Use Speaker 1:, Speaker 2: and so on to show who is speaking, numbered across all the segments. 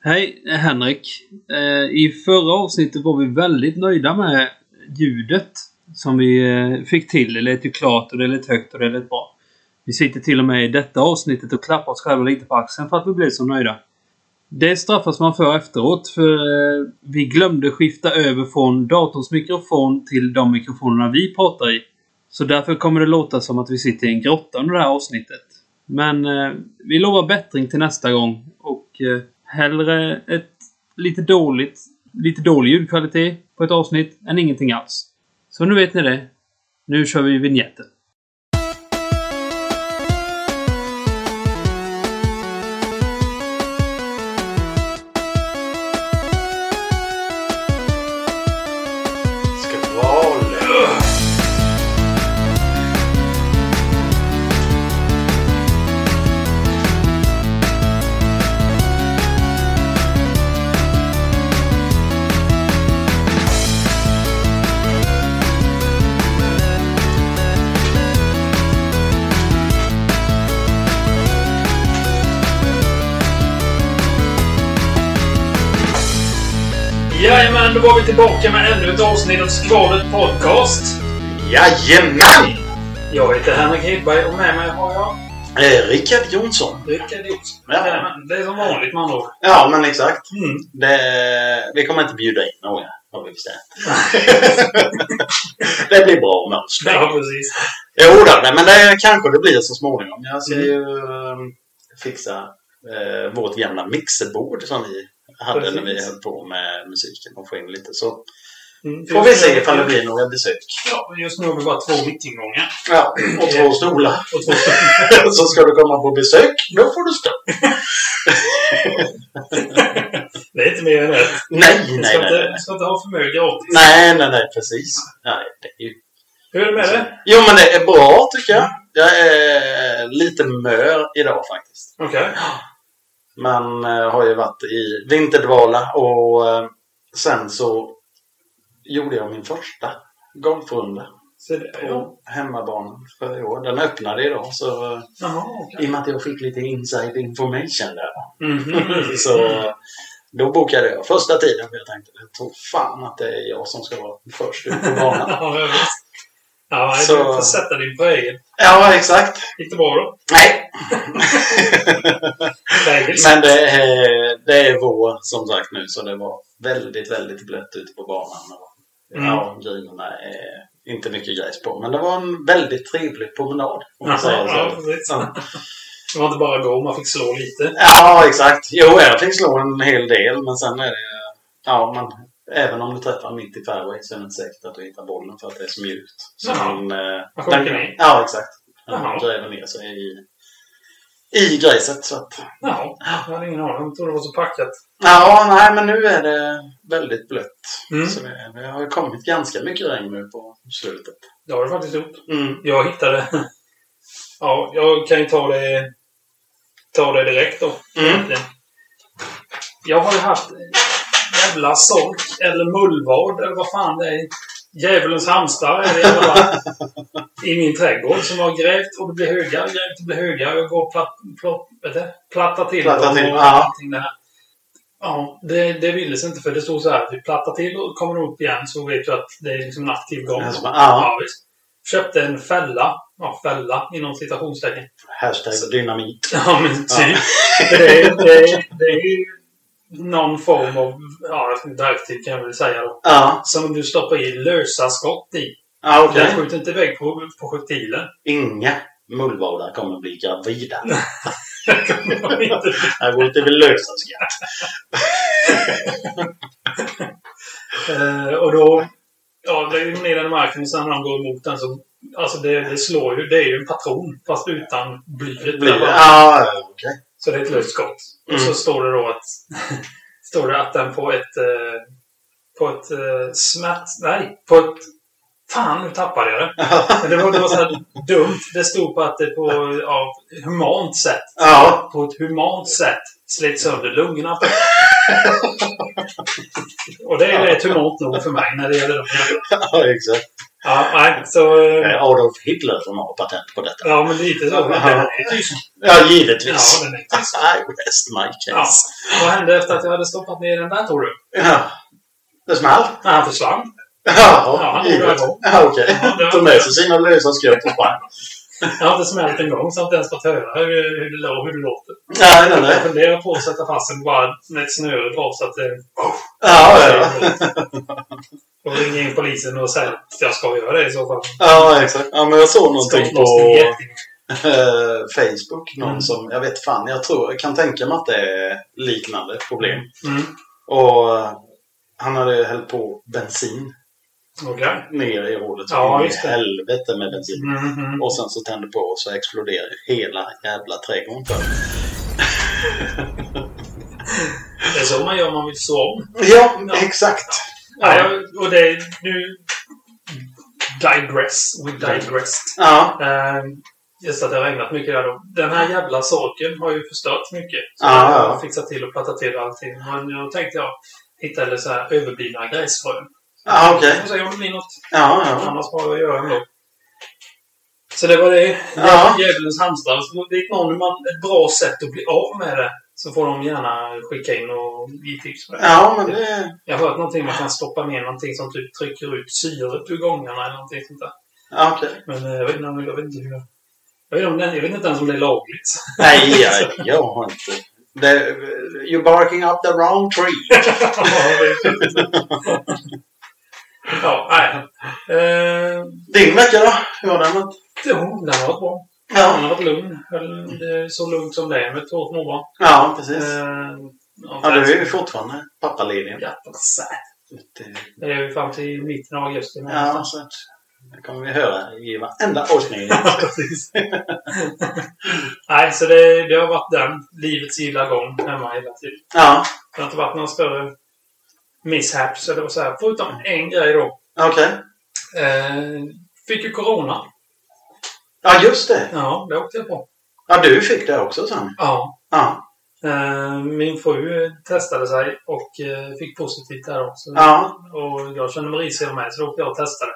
Speaker 1: Hej, det är Henrik. Eh, I förra avsnittet var vi väldigt nöjda med ljudet som vi eh, fick till. Det lät ju klart och det lät högt och det lät bra. Vi sitter till och med i detta avsnittet och klappar oss själva lite på axeln för att vi blev så nöjda. Det straffas man för efteråt för eh, vi glömde skifta över från datorns mikrofon till de mikrofonerna vi pratar i. Så därför kommer det låta som att vi sitter i en grotta under det här avsnittet. Men eh, vi lovar bättring till nästa gång och eh, hellre ett lite dåligt, lite dålig ljudkvalitet på ett avsnitt än ingenting alls. Så nu vet ni det. Nu kör vi vignetten.
Speaker 2: Skvaller.
Speaker 1: Jajamän, då var vi tillbaka med ännu ett avsnitt av Skvalet Podcast.
Speaker 2: Jajamän!
Speaker 1: Jag heter Henrik Hedberg och med mig har jag
Speaker 2: Eh, Rickard Jonsson.
Speaker 1: Rickard Jonsson.
Speaker 2: Ja.
Speaker 1: Jajamän, Det är som vanligt man då.
Speaker 2: Ja, men exakt.
Speaker 1: Mm.
Speaker 2: Det, vi kommer inte bjuda in några, har vi bestämt. det blir bra om
Speaker 1: Ja,
Speaker 2: jag
Speaker 1: precis.
Speaker 2: Jo då, nej, men det kanske det blir så småningom. Jag
Speaker 1: Mm.
Speaker 2: ska ju eh, fixa eh, vårt gamla mixerbord som vi hade
Speaker 1: Precis.
Speaker 2: när vi höll på med musiken och få in lite. Så
Speaker 1: Mm.
Speaker 2: får vi se ifall det blir några besök.
Speaker 1: Ja, men just nu har vi bara två mickingångar.
Speaker 2: Ja, och två stolar.
Speaker 1: Och två
Speaker 2: Så ska du komma på besök, då får du stå.
Speaker 1: Det är inte mer än rätt.
Speaker 2: Nej,
Speaker 1: Vi
Speaker 2: nej,
Speaker 1: ska,
Speaker 2: nej.
Speaker 1: inte-
Speaker 2: nej.
Speaker 1: vi ska inte ha för mycket gratis.
Speaker 2: Nej, nej, nej, precis. Nej, det är ju...
Speaker 1: Hur är det med det? Mm.
Speaker 2: Jo, men det är bra tycker jag. Jag är lite mör idag faktiskt.
Speaker 1: Okej.
Speaker 2: Man eh, har ju varit i vinterdvala och eh, sen så gjorde jag min första golfrunda
Speaker 1: Så det, ja.
Speaker 2: på hemmabanan för i år. Den öppnade idag, så eh,
Speaker 1: Jaha, okej.
Speaker 2: i och med att jag fick lite inside information där
Speaker 1: Mhm.
Speaker 2: så eh, då bokade jag första tiden. för Jag tänkte, jag tror fan att det är jag som ska vara först ut på banan.
Speaker 1: Ja, ja, visst. Ja,
Speaker 2: Så-
Speaker 1: du får sätta din prägel.
Speaker 2: ja, exakt.
Speaker 1: Gick det bra då?
Speaker 2: Nej,
Speaker 1: Prägel.
Speaker 2: Men det är, det är vår som sagt nu så det var väldigt, väldigt blött ute på banan. Och,
Speaker 1: Mm.
Speaker 2: Ja, grinorna är inte mycket grejs på. Men det var en väldigt trevlig promenad. Om man säger
Speaker 1: Ja, ja,
Speaker 2: så.
Speaker 1: precis.
Speaker 2: Ja.
Speaker 1: Det var inte bara gå, man fick slå lite.
Speaker 2: Ja, exakt. Jo, jag fick slå en hel del men sen är det... Ja, man, även om du träffar mitt i fairway så är det inte säkert att du hittar bollen för att det är så mjukt. Så
Speaker 1: Jaha.
Speaker 2: den, eh,
Speaker 1: Man sjunker
Speaker 2: den-
Speaker 1: ner.
Speaker 2: Ja, exakt. Den
Speaker 1: Jaha.
Speaker 2: gräver ner sig i, i grejset. Så att,
Speaker 1: Ja, jag hade ingen aning. Jag trodde det var så packat.
Speaker 2: Ja, nej, men nu är det väldigt blött.
Speaker 1: Mm.
Speaker 2: Så det, det har ju kommit ganska mycket regn nu på slutet.
Speaker 1: Det har det faktiskt gjort.
Speaker 2: Mm.
Speaker 1: Jag hittade... Ja, jag kan ju ta det, ta det direkt då.
Speaker 2: Mm.
Speaker 1: Jag har ju haft jävla sork, eller mullvad, eller vad fan det är. Djävulens hamstrar är det i alla fall. I min trädgård som har grävt och det blir höga, grävt och blir höga. Jag går och platt, platt, vet du, plattar till
Speaker 2: Plattar
Speaker 1: dem
Speaker 2: till,
Speaker 1: och
Speaker 2: ja.
Speaker 1: allting det här. Ja, det, det ville sig inte för det stod så här att vi plattar till och kommer det upp igen så vet du att det är liksom en aktiv gång.
Speaker 2: Alltså, ja,
Speaker 1: Ja, visst. Köpte en fälla. Ja, fälla inom citationstecken.
Speaker 2: hashtag dynamit.
Speaker 1: Ja, men typ. Det, är, det, är, det är ju någon form av ja, verktyg kan jag väl säga då.
Speaker 2: Ja,
Speaker 1: Som du stoppar i lösa skott i.
Speaker 2: ja okej.
Speaker 1: Den skjuter inte iväg på, på sjuktilen.
Speaker 2: Inga mullvadar kommer bli gravida.
Speaker 1: Den kommer inte-
Speaker 2: Det går lite vid lösa skratt.
Speaker 1: Eh, och då... Ja, det är ju ner den i marken och sen när de går emot den så... Alltså det, det slår ju. Det är ju en patron fast utan blyet.
Speaker 2: Blir det? Ja, ja, okej.
Speaker 1: Så det är ett löst skott. Och
Speaker 2: Mm.
Speaker 1: så står det då att, står det att den på ett... Eh, på ett eh, smärt... Nej, på ett... Fan, nu tappade jag det. Men det var, det var så här dumt. Det stod på att det på ja, humant sätt,
Speaker 2: Ja,
Speaker 1: på ett humant sätt slet sönder lungorna. Och det är rätt humant nog för mig när det gäller de här.
Speaker 2: ja, exakt.
Speaker 1: Ja, nej, så... eh,
Speaker 2: Eh, Adolf Hitler som har patent på detta.
Speaker 1: Ja, men lite så. Men den är tysk.
Speaker 2: Ja,
Speaker 1: Ja,
Speaker 2: givetvis.
Speaker 1: den är tysk.
Speaker 2: I rest my case.
Speaker 1: Vad hände efter att jag hade stoppat ner den där, tror du?
Speaker 2: Ja. Det small.
Speaker 1: När han försvann? Ja,
Speaker 2: Ja,
Speaker 1: han
Speaker 2: givet.
Speaker 1: gjorde det.
Speaker 2: Ja, okej.
Speaker 1: Ja, det var-
Speaker 2: Tog med sig sina lösa skrot och sprang.
Speaker 1: Jag har inte smält en gång, så jag har inte ens fått höra hur, hur, det, lå- hur det låter.
Speaker 2: Nej, nej,
Speaker 1: Jag
Speaker 2: nej.
Speaker 1: funderar på att sätta fast den bara med ett snöre dra så att det...
Speaker 2: Ja, ja.
Speaker 1: Och ringa in polisen och säga att jag ska göra det i så fall.
Speaker 2: Ja, exakt. Ja, men jag såg någonting på
Speaker 1: Skottlossning är jätteviktigt.
Speaker 2: eh, Facebook. Någon
Speaker 1: Mm.
Speaker 2: som, jag vet fan, jag tror, jag kan tänka mig att det är liknande problem.
Speaker 1: Mm.
Speaker 2: Och eh, han hade hällt på bensin
Speaker 1: Okej.
Speaker 2: ner i hålet.
Speaker 1: Ja,
Speaker 2: In i
Speaker 1: just det.
Speaker 2: helvete med bensin.
Speaker 1: Mm, mm.
Speaker 2: Och sen så tände på och så exploderade hela jävla trädgården för mig.
Speaker 1: Det är så man gör om man vill så om.
Speaker 2: Ja,
Speaker 1: Ja.
Speaker 2: exakt.
Speaker 1: Ja, jag- och det... Nu... Digress. We digressed.
Speaker 2: Ja.
Speaker 1: Eh, Just att det har regnat mycket där då. Den här jävla sorken har ju förstört mycket. Så
Speaker 2: Ja,
Speaker 1: jag
Speaker 2: Ah, ja.
Speaker 1: har fixat till och plattat till allting. Men jag tänkte jag hittade så här överblivna gräsfrön.
Speaker 2: Ja, Ah, okej.
Speaker 1: Och se om det blir något.
Speaker 2: Ja, ja.
Speaker 1: Annars har jag att göra ändå. Så det var det.
Speaker 2: Ja.
Speaker 1: Djävulens hamstrar. Så Vet någon man, ett bra sätt att bli av med det så får de gärna skicka in och ge tips på det.
Speaker 2: Ja, men det...
Speaker 1: Jag har hört någonting man kan stoppa ner någonting som typ trycker ut syret ur gångarna eller någonting sånt där.
Speaker 2: Ja, okej.
Speaker 1: Men eh, jag vet inte, jag vet inte hur jag... Jag vet, inte, jag vet inte ens om det är lagligt.
Speaker 2: Nej, jag, jag har inte... Det, you're barking up the wrong tree.
Speaker 1: ja, nej. Eh,
Speaker 2: Din vecka då? Hur har den varit?
Speaker 1: det- hon den har varit bra. Hon
Speaker 2: Ja,
Speaker 1: har varit lugn. Höll det så lugnt som det är med två småbarn.
Speaker 2: ja precis.
Speaker 1: Eh,
Speaker 2: Ja, du är ju fortfarande pappaledig. Det-
Speaker 1: Det är ju fram till mitten av augusti.
Speaker 2: Ja, så att det kommer vi höra i varenda avsnitt.
Speaker 1: precis. nej, så det, det har varit den. Livets gilla gång hemma hela tiden.
Speaker 2: Ja,
Speaker 1: Det har inte varit några större mishaps eller så här. Förutom en grej då.
Speaker 2: okej.
Speaker 1: Eh, fick ju corona.
Speaker 2: Ja, just det.
Speaker 1: Ja, det åkte jag på.
Speaker 2: Ja, du fick det också sen.
Speaker 1: Ja.
Speaker 2: Ja,
Speaker 1: Eh, min fru eh, testade sig och eh, fick positivt där också.
Speaker 2: ja,
Speaker 1: Och jag kände mig risig av mig, så då åkte jag och testade.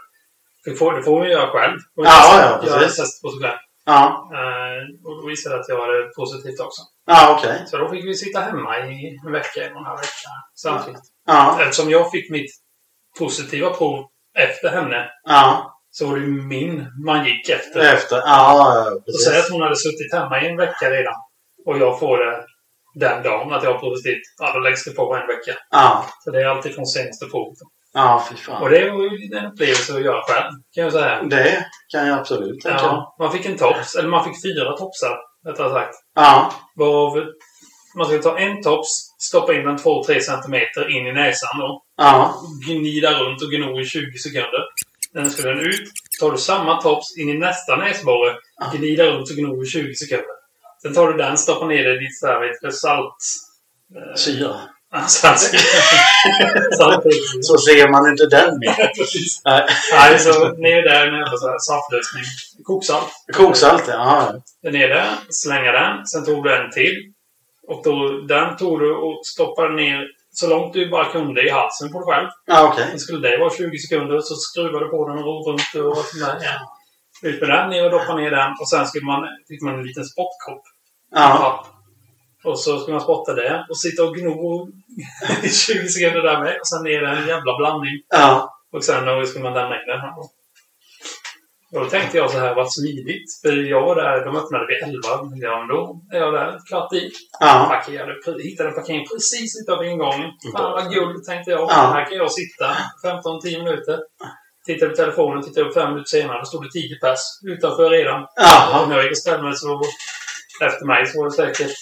Speaker 1: Fick få, det får man ju göra själv. Och
Speaker 2: Ja,
Speaker 1: testa-
Speaker 2: ja, precis.
Speaker 1: göra ett test på sig själv.
Speaker 2: ja,
Speaker 1: Eh, och då visade det att jag hade positivt också.
Speaker 2: ja okej.
Speaker 1: Så då fick vi sitta hemma i en vecka, en och en halv vecka samtidigt.
Speaker 2: Ja,
Speaker 1: Eftersom jag fick mitt positiva prov efter henne
Speaker 2: ja,
Speaker 1: så var det ju min man gick efter.
Speaker 2: efter. Ja, ja,
Speaker 1: Och säg att
Speaker 2: precis.
Speaker 1: hon hade suttit hemma i en vecka redan. Och jag får det den dagen att jag har positivt. Ja, då läggs det på en vecka.
Speaker 2: Ja,
Speaker 1: Så det är alltid från senaste provet.
Speaker 2: ja, fy
Speaker 1: Och
Speaker 2: fan.
Speaker 1: det var ju en upplevelse att göra själv, kan jag säga.
Speaker 2: Det kan jag absolut tänka mig.
Speaker 1: Ja, man fick en tops, eller man fick fyra topsar, rättare sagt.
Speaker 2: Ja,
Speaker 1: Varav man skulle ta en tops, stoppa in den 2-3 centimeter in i näsan då.
Speaker 2: ja,
Speaker 1: Gnida runt och gno i 20 sekunder. Sen skulle den ut. Tar du samma tops in i nästa näsborre, gnida runt och gno i 20 sekunder. Sen tar du den, stoppar ner den i ditt så här, vet du, salt...
Speaker 2: syra.
Speaker 1: Ah, salt. salt.
Speaker 2: Så ser man inte den mer.
Speaker 1: Precis.
Speaker 2: Nej.
Speaker 1: Nej, så ner där med en sån här saftlösning. Koksalt.
Speaker 2: Koksalt, ja. ja.
Speaker 1: Ner där, slänga den. Sen tog du en till. Och då, den tog du och stoppade ner så långt du bara kunde i halsen på dig själv.
Speaker 2: Ja, okej.
Speaker 1: Sen skulle det vara 20 sekunder så skruvade du på den och ror runt och sånt där. igen. Ut med den, ner och doppa ner den. Och sen skulle man, fick man en liten spottkopp.
Speaker 2: Ja,
Speaker 1: Och så skulle man spotta det och sitta och gno i 20 sekunder där med. Och sen ner en jävla blandning.
Speaker 2: ja,
Speaker 1: Och sen då skulle man lämna in den här. då. Och då tänkte jag så här, vad smidigt. För jag var där, de öppnade vid 11. Ja, men då är jag där, klart i.
Speaker 2: ja,
Speaker 1: Parkerade, pre- hittade en parkering precis utanför ingången. Fan vad guld, tänkte jag.
Speaker 2: Ja.
Speaker 1: Här kan jag sitta 15-10 minuter. Tittade på telefonen, tittade upp fem minuter senare. Då stod det 10 pers utanför redan. Och
Speaker 2: ja.
Speaker 1: när jag gick och ställde mig så efter mig så var det säkert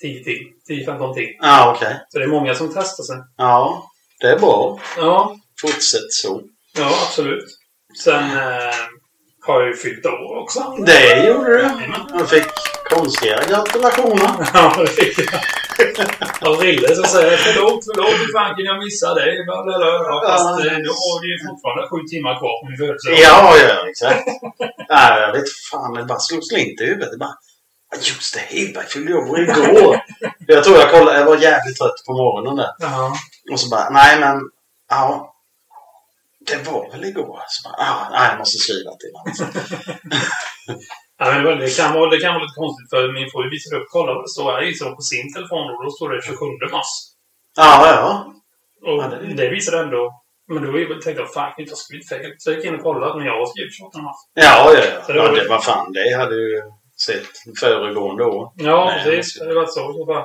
Speaker 1: 10 till. 10-15 till.
Speaker 2: Ja, okej.
Speaker 1: Så det är många som testar sig.
Speaker 2: Ja, det är bra.
Speaker 1: Ja,
Speaker 2: Fortsätt så.
Speaker 1: Ja, absolut. Sen eh, har jag ju fyllt år också.
Speaker 2: Det gjorde du. Du fick konstiga gratulationer.
Speaker 1: Ja, det fick jag. Av Rille som säger förlåt, förlåt, hur fan kunde jag missa dig? Bla, bla, bla. Ja, Fast eh, då har det ju fortfarande sju timmar kvar på min födelsedag.
Speaker 2: Ja, ja, exakt. Nej, jag vet fan. Det bara slog slint i huvudet. Det bara, "Ja, just det, Hedberg fyllde ju år igår. Jag tror jag kollade. Jag var jävligt trött på morgonen där.
Speaker 1: Ja.
Speaker 2: Och så bara, nej men, ja. det var väl igår? Så bara, ah, nej, jag måste skriva till honom.
Speaker 1: Ja, men det var- det, kan vara, det kan vara lite konstigt för min fru visade upp, kolla vad det står här, gissar hon på sin telefon och då står det 27 mars.
Speaker 2: Ja, ja.
Speaker 1: Och
Speaker 2: Ja, det-
Speaker 1: det visade ändå... Men då tänkte jag, fan, jag har skrivit fel. Så jag gick in och kollade, men jag har skrivit 28 mars.
Speaker 2: Ja, ja, ja.
Speaker 1: Så det
Speaker 2: ja
Speaker 1: var-
Speaker 2: det, vad fan, det hade ju sett föregående år.
Speaker 1: Ja,
Speaker 2: Nej,
Speaker 1: precis. Det var så. så bara.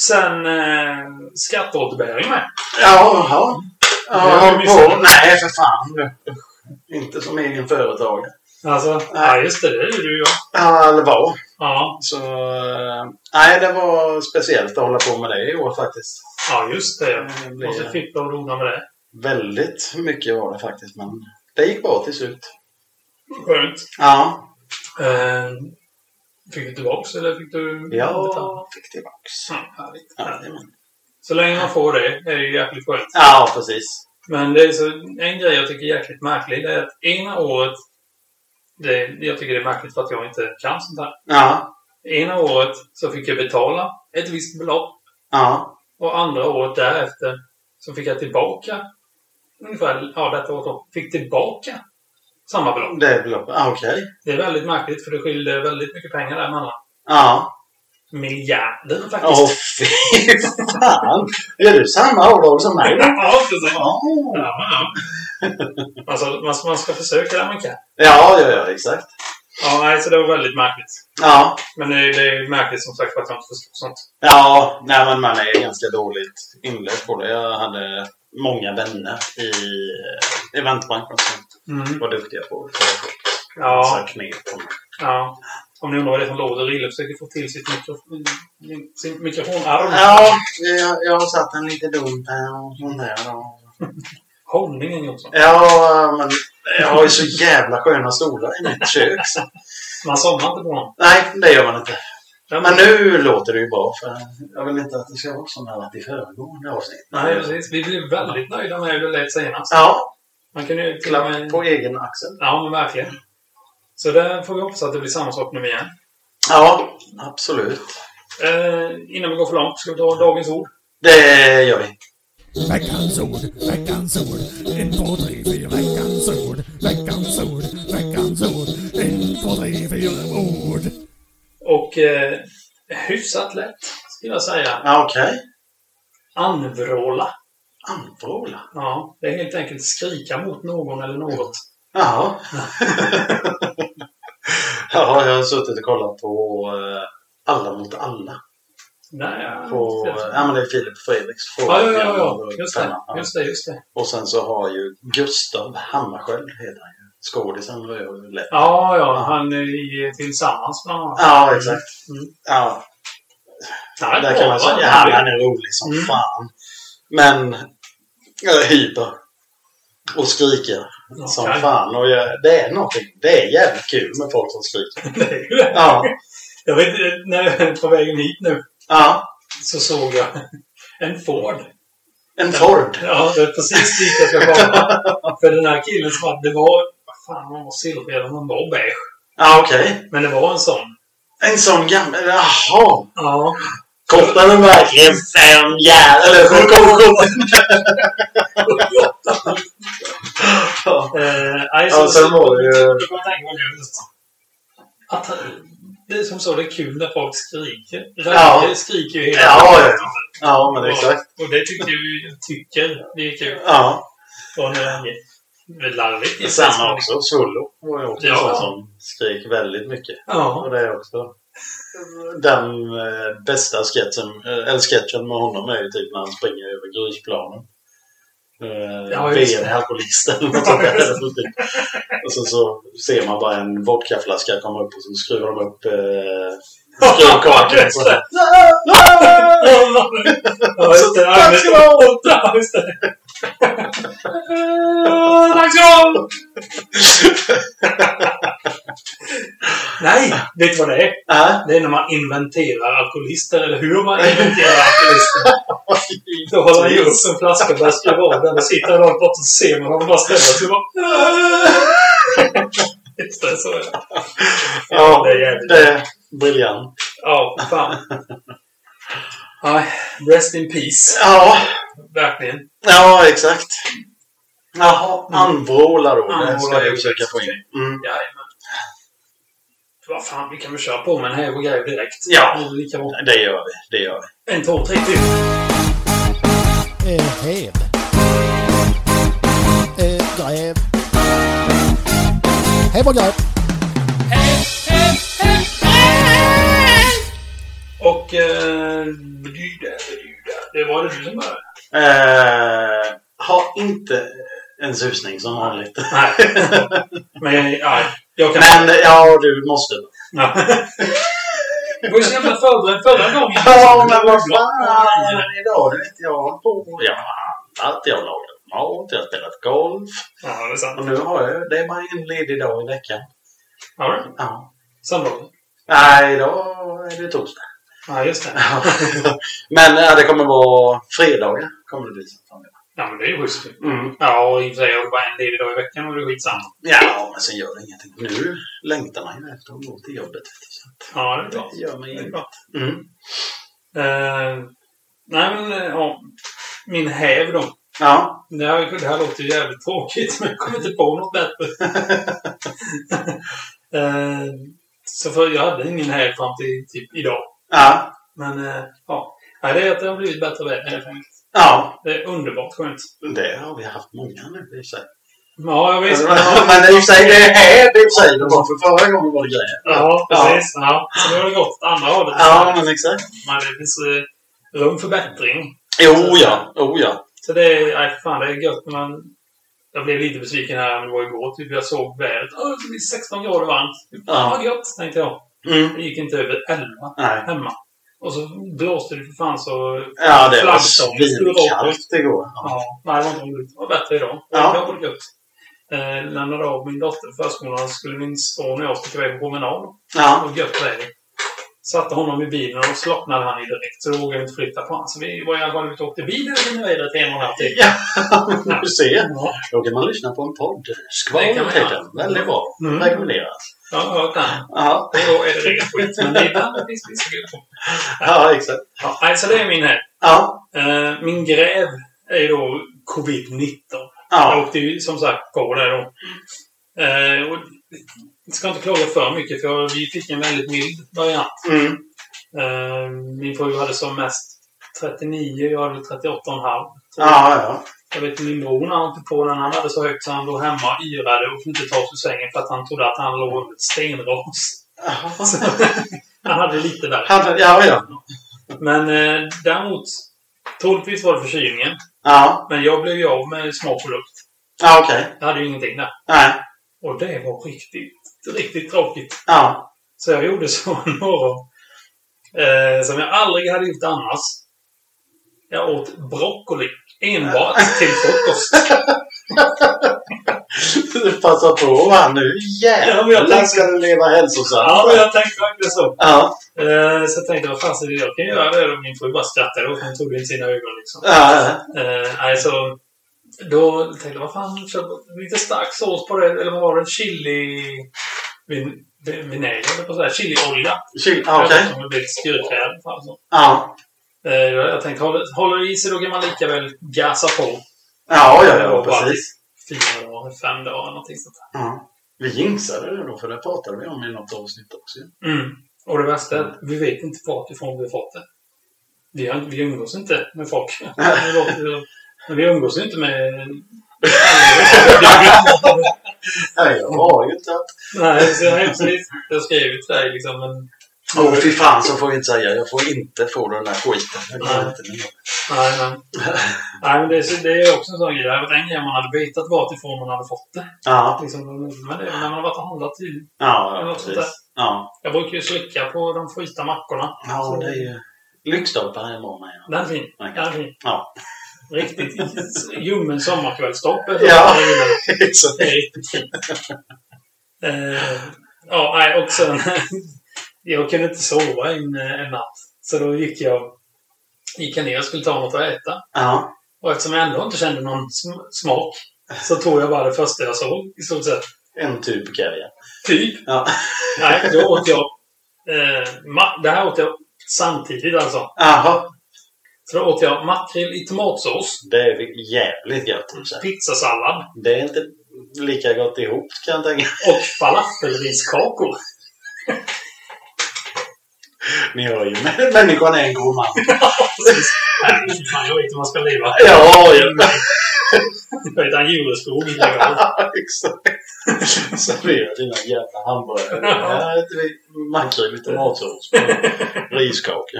Speaker 1: Sen eh, skatteåterbäring med.
Speaker 2: Ja, ja.
Speaker 1: Det
Speaker 2: Ja,
Speaker 1: har
Speaker 2: håll
Speaker 1: vi
Speaker 2: på.
Speaker 1: missat.
Speaker 2: Nej, för fan. Inte som egen företagare.
Speaker 1: Alltså, ja just det. Det är ju du och jag.
Speaker 2: Ja, eller var.
Speaker 1: Ja,
Speaker 2: Så, eh, nej, det var speciellt att hålla på med det i år faktiskt.
Speaker 1: ja just det.
Speaker 2: Det
Speaker 1: Och så
Speaker 2: blir
Speaker 1: fick de rona med det.
Speaker 2: väldigt mycket var det faktiskt, men det gick bra till slut.
Speaker 1: Skönt.
Speaker 2: Ja.
Speaker 1: Eh, fick du tillbaks eller fick du...
Speaker 2: Ja, fick tillbaks.
Speaker 1: Ja, härligt.
Speaker 2: Jajamän.
Speaker 1: Så länge man får det är det ju jäkligt skönt.
Speaker 2: Ja, precis.
Speaker 1: Men det är så, en grej jag tycker är jäkligt märklig det är att ena året... Det, jag tycker det är märkligt för att jag inte kan sånt här.
Speaker 2: Ja,
Speaker 1: Ena året så fick jag betala ett visst belopp
Speaker 2: ja,
Speaker 1: och andra året därefter så fick jag tillbaka ungefär, ja detta året då, fick tillbaka samma belopp.
Speaker 2: det är beloppet. Ja, Okej.
Speaker 1: Det är väldigt märkligt för det skiljer väldigt mycket pengar däremellan.
Speaker 2: Ja.
Speaker 1: Miljarder faktiskt.
Speaker 2: Åh, fy fan! Gör du samma avdrag som mig? då?
Speaker 1: Ja, precis.
Speaker 2: Ja,
Speaker 1: Ja, men ja. alltså, man, man ska försöka där man kan.
Speaker 2: ja, ja, ja exakt.
Speaker 1: Ja, nej, så det var väldigt märkligt.
Speaker 2: Ja.
Speaker 1: Men det, det är märkligt som sagt för att jag inte förstår sånt.
Speaker 2: Ja, nej, men man är ganska dåligt inläst på det. Jag hade många vänner i eh, eventbranschen som var duktiga på det.
Speaker 1: Ja,
Speaker 2: Så knep.
Speaker 1: ja. Om ni undrar vad det är som låter, Rille försöker få till sitt mikrofon, sin mikrofonarm.
Speaker 2: Ja, jag, jag har satt en lite dumt här och sånt där. och-
Speaker 1: Hållningen Jonsson.
Speaker 2: Ja, men jag har ju så jävla sköna stolar i mitt kök. Så.
Speaker 1: Man somnar inte på honom.
Speaker 2: Nej, det gör man inte.
Speaker 1: Ja,
Speaker 2: Men nu låter det ju bra. För jag vill inte att det ska vara som det har varit i föregående avsnitt.
Speaker 1: Nej, precis. Vi blev väldigt nöjda med hur det lät senast.
Speaker 2: Ja,
Speaker 1: Man kan ju till och
Speaker 2: klapp
Speaker 1: med...
Speaker 2: på egen axel.
Speaker 1: Ja, men verkligen. Så där får vi hoppas att det blir samma sak nu igen.
Speaker 2: Ja, absolut.
Speaker 1: Eh, innan vi går för långt, ska vi ta dagens ord?
Speaker 2: Det gör vi.
Speaker 3: Veckans ord, veckans ord, en, två, tre, fyra, veckans ord, veckans ord, veckans ord, en, två, tre, fyra, ord.
Speaker 1: Och eh, hyfsat lätt, skulle jag säga.
Speaker 2: Ja, Okej.
Speaker 1: Anvråla.
Speaker 2: Anvråla.
Speaker 1: Ja, det är helt enkelt skrika mot någon eller något.
Speaker 2: Jaha. ja, jag har suttit och kollat på eh, Alla mot alla.
Speaker 1: Nej, jag-
Speaker 2: På, eh, ja, men det är Filip Fredriks
Speaker 1: Ja, ja, ja,
Speaker 2: frågeprogram
Speaker 1: ja.
Speaker 2: och
Speaker 1: Just det.
Speaker 2: pennan. Ja.
Speaker 1: Just det, just det.
Speaker 2: Och sen så har ju Gustav Hammarskjöld, heter han ju. Skådisen var ju lätt.
Speaker 1: Ja, ja. Han är i Tillsammans bland annat.
Speaker 2: Ja, exakt.
Speaker 1: Mm.
Speaker 2: Ja,
Speaker 1: Nej,
Speaker 2: där kan man
Speaker 1: bra, va?
Speaker 2: säga ja, han är rolig som
Speaker 1: Mm.
Speaker 2: fan. Men jag är hyper. Och skriker
Speaker 1: Ja,
Speaker 2: som
Speaker 1: kan-
Speaker 2: fan. Och jag, det är någonting. Det är jävligt kul med folk som skriker.
Speaker 1: Det är ju det.
Speaker 2: Ja.
Speaker 1: Jag vet inte, när jag är på vägen hit nu
Speaker 2: ja.
Speaker 1: så såg jag en Ford.
Speaker 2: En Ford.
Speaker 1: Ja, det är precis dit jag ska komma. För den här killen som hade, det var, vad fan han var silvrig eller han var beige.
Speaker 2: Ja, okej.
Speaker 1: Men det var en sån.
Speaker 2: En sån gammal... Jaha!
Speaker 1: Ja.
Speaker 2: Kostar den verkligen fem jävlar?
Speaker 1: Eh, nej,
Speaker 2: Ja, sen var det ju-
Speaker 1: Jag kommer att tänka på det just. Att eh, det är som så, det är kul när folk skriker. Ragge
Speaker 2: Ja.
Speaker 1: skriker ju hela
Speaker 2: Ja, ja, Ja, men exakt.
Speaker 1: Och det tycker vi tycker det är kul.
Speaker 2: Ja.
Speaker 1: Från Ragge. Det är larvigt.
Speaker 2: Det är
Speaker 1: just.
Speaker 2: samma också. Svullo var ju också en
Speaker 1: Ja.
Speaker 2: sån som skrek väldigt mycket.
Speaker 1: Ja.
Speaker 2: Och det är också den eh, bästa sketchen, eh, eller sketchen med honom är ju typ när han springer över grusplanen. Eh,
Speaker 1: Ja, just det.
Speaker 2: VM-alkoholist eller något sånt där. Och sen så ser man bara en vodkaflaska komma upp och så skruvar de upp eh, skruvkakan.
Speaker 1: Just det.
Speaker 2: Ah!
Speaker 1: Ja, just det. Ja,
Speaker 2: Tack
Speaker 1: just
Speaker 2: ska
Speaker 1: det.
Speaker 2: du ha!
Speaker 1: Ja, just det. Eh, Tack så mycket! Nej, vet du vad det är?
Speaker 2: Nej.
Speaker 1: Det är när man inventerar alkoholister, eller hur man inventerar alkoholister. Då håller man ju upp en flaska och börjar skruva av den. Då sitter någon bort och ser man honom bara ställa sig och bara... Just det, så är det.
Speaker 2: Ja,
Speaker 1: det är jävligt.
Speaker 2: det är briljant.
Speaker 1: Ja, fan. Nej, rest in peace.
Speaker 2: Ja,
Speaker 1: Verkligen.
Speaker 2: ja exakt. Jaha, armvrålar då.
Speaker 1: Armvrålar
Speaker 2: Det ska
Speaker 1: Mm. är
Speaker 2: jag
Speaker 1: ju
Speaker 2: försöka
Speaker 1: bäst.
Speaker 2: få in. Mm.
Speaker 1: Jajamän. Vad fan, vi kan väl köra på med den här och grejer direkt.
Speaker 2: Ja.
Speaker 1: Det är lika bra.
Speaker 2: Det gör vi. Det gör vi.
Speaker 1: En, två, tre till.
Speaker 3: Eh, Häv. Eh, Gräv. Häv och gräv.
Speaker 1: Och... Eh, blyda, blyda. det var det du som började.
Speaker 2: Eh, ha inte en susning som vanligt.
Speaker 1: Nej. Men ja, jag kan...
Speaker 2: Men ja, du måste.
Speaker 1: Ja. Det var ju så jävla förberedd förra gången.
Speaker 2: Ja, men vad fan! Idag vet jag på... Jag har handlat, jag har lagat mat, jag har spelat golf.
Speaker 1: Ja, det är
Speaker 2: Och
Speaker 1: sant.
Speaker 2: nu har jag Det är bara en ledig dag i veckan.
Speaker 1: Har du?
Speaker 2: Ja.
Speaker 1: Söndag?
Speaker 2: Nej, idag är det torsdag.
Speaker 1: Ja, just det.
Speaker 2: Ja. Men ja, det kommer vara fredagar. Kommer det bli så framöver.
Speaker 1: Ja, men det är ju schysst.
Speaker 2: Mm.
Speaker 1: Ja, och i och för sig jag har bara en ledig dag i veckan och det är skitsamma.
Speaker 2: Ja, men sen gör det ingenting. Nu längtar man ju efter att gå till jobbet. vet du, så att
Speaker 1: Ja, det är bra.
Speaker 2: Det gör mig
Speaker 1: Det är
Speaker 2: inget.
Speaker 1: bra.
Speaker 2: Mm.
Speaker 1: Eh, nej, men eh, ja. Min häv då.
Speaker 2: Ja.
Speaker 1: Det här, det här låter ju jävligt tråkigt, men jag kommer inte på något bättre. Eh, så för jag hade ingen häv fram till typ idag.
Speaker 2: Ja.
Speaker 1: Men eh, ja, Nej, det är att det har blivit bättre väder helt enkelt.
Speaker 2: Ja.
Speaker 1: Det är underbart skönt.
Speaker 2: Det har vi haft många nu i och för sig.
Speaker 1: Ja, jag vet.
Speaker 2: Men i och för sig, det är det i och för sig. Det var för förra gången var det grejer.
Speaker 1: Ja, precis. Ja. Så nu har det gått åt andra hållet.
Speaker 2: Ja, men exakt.
Speaker 1: Men det finns eh, rum för bättring.
Speaker 2: Jo, ja. Jo, ja.
Speaker 1: Så det är, nej, fan, det är gött när man... Jag blev lite besviken här, men det var igår. Typ jag såg vädret. Åh, det blir 16 grader varmt. Ja.
Speaker 2: Ja.
Speaker 1: Vad gött, tänkte jag.
Speaker 2: Mm.
Speaker 1: Det gick inte över 11
Speaker 2: Nej.
Speaker 1: hemma. Och så blåste det för fan så...
Speaker 2: Ja, det var
Speaker 1: Flaggstången skulle vara på.
Speaker 2: svinkallt igår. Ja.
Speaker 1: Ja, nej, det var inte roligt. Det var bättre idag.
Speaker 2: Ja.
Speaker 1: Det var gött. Eh, lämnade av min dotter på förskolan. Skulle min son och jag sticka iväg på promenad.
Speaker 2: Ja.
Speaker 1: Och gött väder. Satte honom i bilen och slocknade han i direkt. Så då vågade vi inte flytta på honom. Så vi var i alla fall ute och åkte bil i vädret i en och en halv timme.
Speaker 2: Ja, du ser.
Speaker 1: Ja,
Speaker 2: Då kan man lyssna på en podd.
Speaker 1: Det kan
Speaker 2: Skvallet
Speaker 1: man
Speaker 2: heter
Speaker 1: göra.
Speaker 2: den. Väldigt bra.
Speaker 1: Mm.
Speaker 2: Rekommenderas.
Speaker 1: jag har hört den.
Speaker 2: Ja.
Speaker 1: Och Då är det rent skit. Men det ibland finns det så gött.
Speaker 2: ja, exakt.
Speaker 1: Ja, nej, så det är min här.
Speaker 2: Ja.
Speaker 1: Eh, min gräv är ju då covid-19. Jag
Speaker 2: Ja.
Speaker 1: åkte ju som sagt på det då. Eh, och jag ska inte klaga för mycket för vi fick en väldigt mild variant.
Speaker 2: Mm.
Speaker 1: Eh, min fru hade som mest 39, jag hade 38,5.
Speaker 2: Ja, ja.
Speaker 1: Jag vet min bror när han åkte på den, han hade så högt så han låg hemma och yrade och kunde inte ta sig ur sängen för att han trodde att han låg under ett stenras. Så, han hade lite värre.
Speaker 2: Han- Ja, ja.
Speaker 1: Men eh, däremot, troligtvis var det förkylningen.
Speaker 2: Ja,
Speaker 1: Men jag blev ju av med småprodukt.
Speaker 2: ja okej.
Speaker 1: Jag hade ju ingenting där.
Speaker 2: Nej.
Speaker 1: Och det var riktigt, riktigt tråkigt.
Speaker 2: Ja.
Speaker 1: Så jag gjorde så en morgon. Eh, som jag aldrig hade gjort annars. Jag åt broccoli enbart till frukost.
Speaker 2: Du passar på va nu.
Speaker 1: Ja, men jag
Speaker 2: Jävlar
Speaker 1: tänkte-
Speaker 2: ska du leva hälsosamt.
Speaker 1: Ja, men jag tänkte verkligen så.
Speaker 2: Ja.
Speaker 1: Eh, så jag tänkte, vad fan, så jag kan göra det. Och Min fru bara skrattade åt Hon tog det i sina ögon liksom.
Speaker 2: Ja.
Speaker 1: Eh, nej, så då tänkte jag, vad fan, kör lite stark sås på det. Eller vad var det? Chili... Vin, vin, vinäger, eller på sådär. Chiliolja.
Speaker 2: Chill. Ja, Okej.
Speaker 1: Som blir lite styrka i alla fall. Så.
Speaker 2: Ja.
Speaker 1: Eh, Jag tänkte, håller, håller det i sig då kan man lika väl gasa på.
Speaker 2: Ja, ja, ja, precis.
Speaker 1: Fyra dagar, fem dagar, någonting sånt
Speaker 2: Ja. Vi jinxade det då, för det pratade vi om i något avsnitt också. ju.
Speaker 1: där. Mm. Och det värsta är att vi vet inte varifrån vi har fått det. Vi, har, vi umgås inte med folk. Det låter- Men vi umgås ju inte med...
Speaker 2: Nej, jag har ju inte haft...
Speaker 1: Nej, så jag, precis. jag skrev ju till dig liksom, men...
Speaker 2: Åh, fy fan så får vi inte säga. Jag får inte få den där skiten. Jag kan inte med.
Speaker 1: Nej, nej. nej men det, är så- det är också en sån grej. Det hade varit en grej om man hade vetat varifrån man hade fått det.
Speaker 2: Ja,
Speaker 1: Liksom, men det, när man har varit och handlat i
Speaker 2: ja,
Speaker 1: Eller
Speaker 2: ja
Speaker 1: något sånt där.
Speaker 2: precis. Ja.
Speaker 1: Jag brukar ju slicka på de frysta mackorna.
Speaker 2: ja,
Speaker 1: Så-
Speaker 2: det är ju... Lyxstolpar är bra med.
Speaker 1: Den är fin.
Speaker 2: Man
Speaker 1: Den
Speaker 2: kan-
Speaker 1: är fin.
Speaker 2: Ja.
Speaker 1: Riktigt ljummen sommarkvällstopp. är det.
Speaker 2: Ja.
Speaker 1: Det är riktigt fint. Eh, Ja, nej, och sen... Jag kunde inte sova en, eh, en natt. Så då gick jag, gick jag ner och skulle ta något att äta.
Speaker 2: Ja.
Speaker 1: Och eftersom jag ändå inte kände någon sm- smak så tog jag bara det första jag såg i stort sett.
Speaker 2: En typ karriär.
Speaker 1: Typ.
Speaker 2: Ja.
Speaker 1: Nej, då åt jag... Eh, ma- det här åt jag samtidigt alltså.
Speaker 2: Jaha.
Speaker 1: Så då åt jag makrill i tomatsås,
Speaker 2: Det är jävligt gött i och för sig.
Speaker 1: pizzasallad
Speaker 2: Det är inte lika gott ihop kan jag tänka
Speaker 1: och falafelriskakor.
Speaker 2: Ni hör ju, men- människan är en god man.
Speaker 1: Herregud, fan, jag vet hur man ska leva.
Speaker 2: Ja, ja.
Speaker 1: Jag heter Djureskog. Ja,
Speaker 2: exakt. Servera dina jävla hamburgare. Här äter vi makrill i tomatsås på riskaka.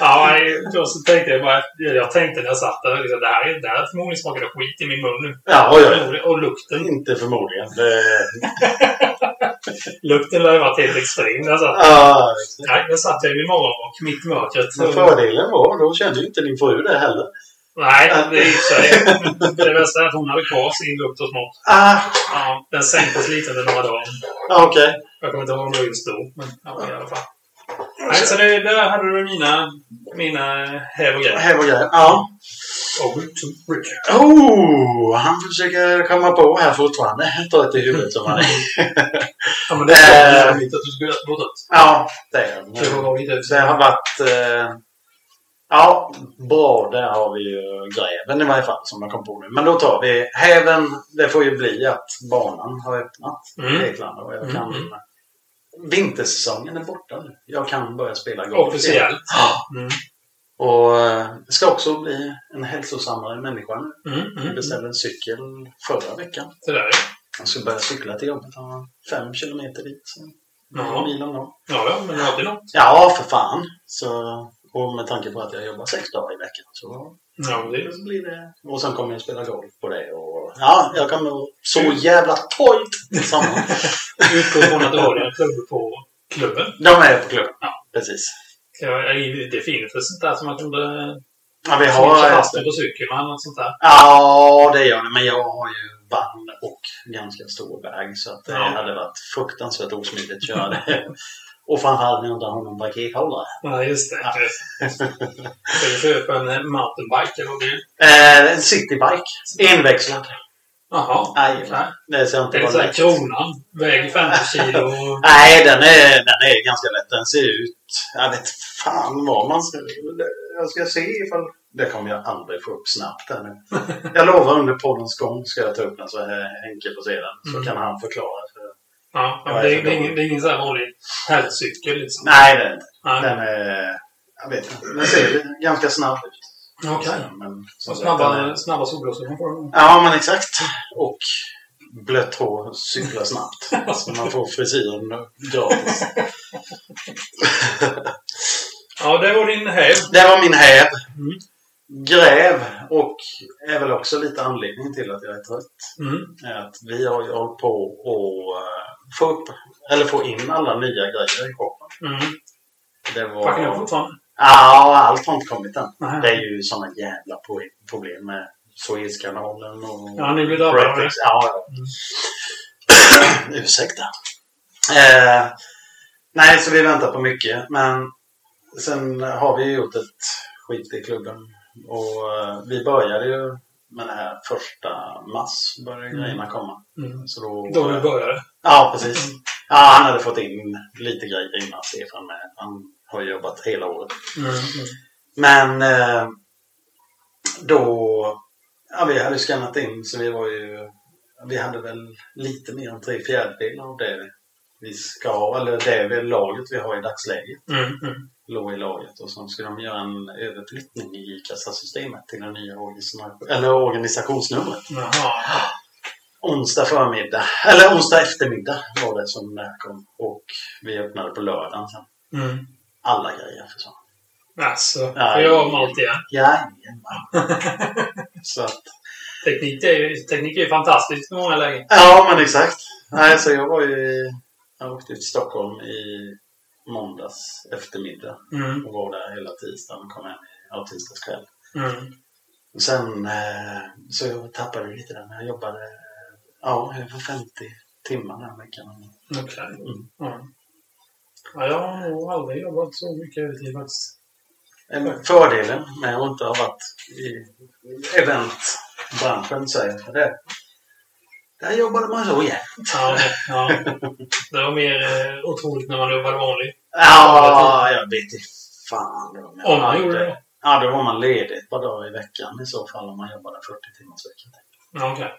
Speaker 1: ja nej, då så tänkte jag bara, jag tänkte när jag satt där, liksom, det här, det här förmodligen smakade skit i min mun nu.
Speaker 2: Ja, ja,
Speaker 1: Förmodligen- Och
Speaker 2: ja.
Speaker 1: lukten,
Speaker 2: Inte förmodligen. Det...
Speaker 1: lukten lär ju varit helt extrem. Alltså.
Speaker 2: Ah,
Speaker 1: Nej, där satt jag i min morgonrock mitt i mörkret.
Speaker 2: men fördelen var, då kände ju inte din fru det heller.
Speaker 1: Nej, det är i och för sig. Det värsta är att hon hade kvar sin lukt och smak.
Speaker 2: Ah,
Speaker 1: Ja, den sänktes lite under några dagar.
Speaker 2: ja, okej.
Speaker 1: Jag kommer inte ihåg om det var just då, men ja, i alla fall. Nej, så det, där hade du mina, mina häv och grejer.
Speaker 2: Här var grejen. Ja.
Speaker 1: Och Richard- Richard.
Speaker 2: Oh, han försöker komma på här fortfarande. Ta ett i huvudet som han är.
Speaker 1: Ja, men det är
Speaker 2: Eh.
Speaker 1: äh... inte att du skulle gå ut.
Speaker 2: Ja, det är han.
Speaker 1: Du får vara lite ut.
Speaker 2: Det har varit... Eh, ja, bra. Där har vi ju greven i varje fall som jag kom på nu. Men då tar vi häven. Det får ju bli att banan har öppnat i
Speaker 1: Mm.
Speaker 2: Grekland och jag kan...
Speaker 1: Mm.
Speaker 2: Vintersäsongen är borta nu. Jag kan börja spela golf. igen.
Speaker 1: Officiellt.
Speaker 2: Ja,
Speaker 1: Mm.
Speaker 2: Och eh, ska också bli en hälsosammare människa nu.
Speaker 1: Mm.
Speaker 2: Jag
Speaker 1: Mm.
Speaker 2: beställde en cykel förra veckan.
Speaker 1: Så där.
Speaker 2: Jag ska börja cykla till jobbet. Ja, Fem kilometer dit. Så.
Speaker 1: Ja.
Speaker 2: Mil om dagen.
Speaker 1: Ja, ja, men alltid något.
Speaker 2: Ja, för fan. Så, och med tanke på att jag jobbar sex dagar i veckan så
Speaker 1: Ja, men det är
Speaker 2: så blir det... Och sen kommer jag spela golf på det. Och, ja, jag kommer vara så jävla tojt samma.
Speaker 1: utgår från att du har dina klubbor på klubben.
Speaker 2: De är på klubben. Ja, precis.
Speaker 1: Ja, det är fint för sånt där som man kunde
Speaker 2: Ja, vi
Speaker 1: knyta
Speaker 2: har...
Speaker 1: fast den på cykeln och annat sånt där.
Speaker 2: Ja, det gör det. Men jag har ju band och ganska stor väg. Så att det
Speaker 1: Ja.
Speaker 2: hade varit fruktansvärt osmidigt att köra det. Och framförallt när jag inte har någon parkerhållare.
Speaker 1: Ja, just det. Ska du köpa en eh, mountainbike eller vad det är?
Speaker 2: Eh, en citybike. Enväxlad.
Speaker 1: Jaha.
Speaker 2: Nej,
Speaker 1: Okej.
Speaker 2: det ser
Speaker 1: Det
Speaker 2: inte
Speaker 1: är
Speaker 2: vara
Speaker 1: så här
Speaker 2: lätt.
Speaker 1: kronan. Väger 50 kilo. och-
Speaker 2: Nej, den är, den är ganska lätt. Den ser ut... Jag vet fan vad man ska... Jag ska se ifall... Det kommer jag aldrig få upp snabbt här nu. Jag lovar under poddens gång ska jag ta upp den så här Henke får se den. Så
Speaker 1: Mm.
Speaker 2: kan han förklara. för-
Speaker 1: Ja,
Speaker 2: Ja,
Speaker 1: men det, är-
Speaker 2: jag
Speaker 1: det, är
Speaker 2: förstår.
Speaker 1: ingen, det är ingen så här vanlig herrcykel liksom.
Speaker 2: Nej, den,
Speaker 1: Nej.
Speaker 2: den är... Jag vet inte. Den ser ganska snabb ut.
Speaker 1: Okej.
Speaker 2: Men, som
Speaker 1: Och
Speaker 2: sagt, den
Speaker 1: snabba,
Speaker 2: är-
Speaker 1: snabba solglasögon får du.
Speaker 2: Ja, men exakt. Och blött hår cyklar snabbt. så man får frisyren gratis.
Speaker 1: Ja, det var din häv.
Speaker 2: Det var min häv.
Speaker 1: Mm.
Speaker 2: Gräv och är väl också lite anledningen till att jag är trött.
Speaker 1: Mm.
Speaker 2: Är att vi har ju hållit på att eh, få, upp, eller få in alla nya grejer i shoppen.
Speaker 1: Mm.
Speaker 2: Det var...
Speaker 1: Packar ni fortfarande?
Speaker 2: Ja, allt har inte kommit än.
Speaker 1: Nej.
Speaker 2: Det är ju sådana jävla po- problem med Suezkanalen och...
Speaker 1: Ja, ni blir drabbade av det. Mm.
Speaker 2: Brexit. Ja, ja. Ursäkta. Eh, nej, så vi väntar på mycket. Men sen har vi ju gjort ett skit i klubben. Och eh, vi började ju med det här första mars. Började
Speaker 1: Mm.
Speaker 2: grejerna komma.
Speaker 1: Mm.
Speaker 2: Så då,
Speaker 1: Då vi började.
Speaker 2: Ja, precis. Ja, han hade fått in lite grejer innan Stefan med. Han har ju jobbat hela året.
Speaker 1: Mm. Mm.
Speaker 2: Men eh, då... Ja, vi hade skannat in så vi var ju... Vi hade väl lite mer än tre fjärdedelar av det vi- vi ska ha, eller det vi, laget vi har i dagsläget
Speaker 1: Mm. Mm.
Speaker 2: låg i laget och sen skulle de göra en överflyttning i kassasystemet till det nya organisation, eller organisationsnumret.
Speaker 1: Jaha.
Speaker 2: Onsdag förmiddag, eller onsdag eftermiddag var det som det här kom och vi öppnade på lördagen sen.
Speaker 1: Mm.
Speaker 2: Alla grejer försvann.
Speaker 1: Alltså,
Speaker 2: Ja,
Speaker 1: får jag om allt igen.
Speaker 2: Jajamän! Så att
Speaker 1: Teknik är ju teknik är ju fantastiskt i många lägen.
Speaker 2: Ja, men exakt. Nej, så jag var ju i, jag åkte till Stockholm i måndags eftermiddag
Speaker 1: Mm.
Speaker 2: och var där hela tisdagen och kom hem ja, tisdagskväll.
Speaker 1: Mm.
Speaker 2: Och sen eh, så jag tappade lite där när jag jobbade eh, ja, över 50 timmar den här veckan.
Speaker 1: Okej.
Speaker 2: Mm.
Speaker 1: Ja. Ja, jag har nog aldrig jobbat så mycket övertid faktiskt.
Speaker 2: En fördelen med att inte ha varit i eventbranschen säger jag för det. Där jobbade man så jämt.
Speaker 1: Ja, ja. Det var mer eh, otroligt när man jobbade vanligt.
Speaker 2: Ja, jag vet inte fan.
Speaker 1: Om man gjorde det.
Speaker 2: Ja, då var man ledig ett par dagar i veckan i så fall om man jobbade 40 timmars vecka.
Speaker 1: Ja, okej.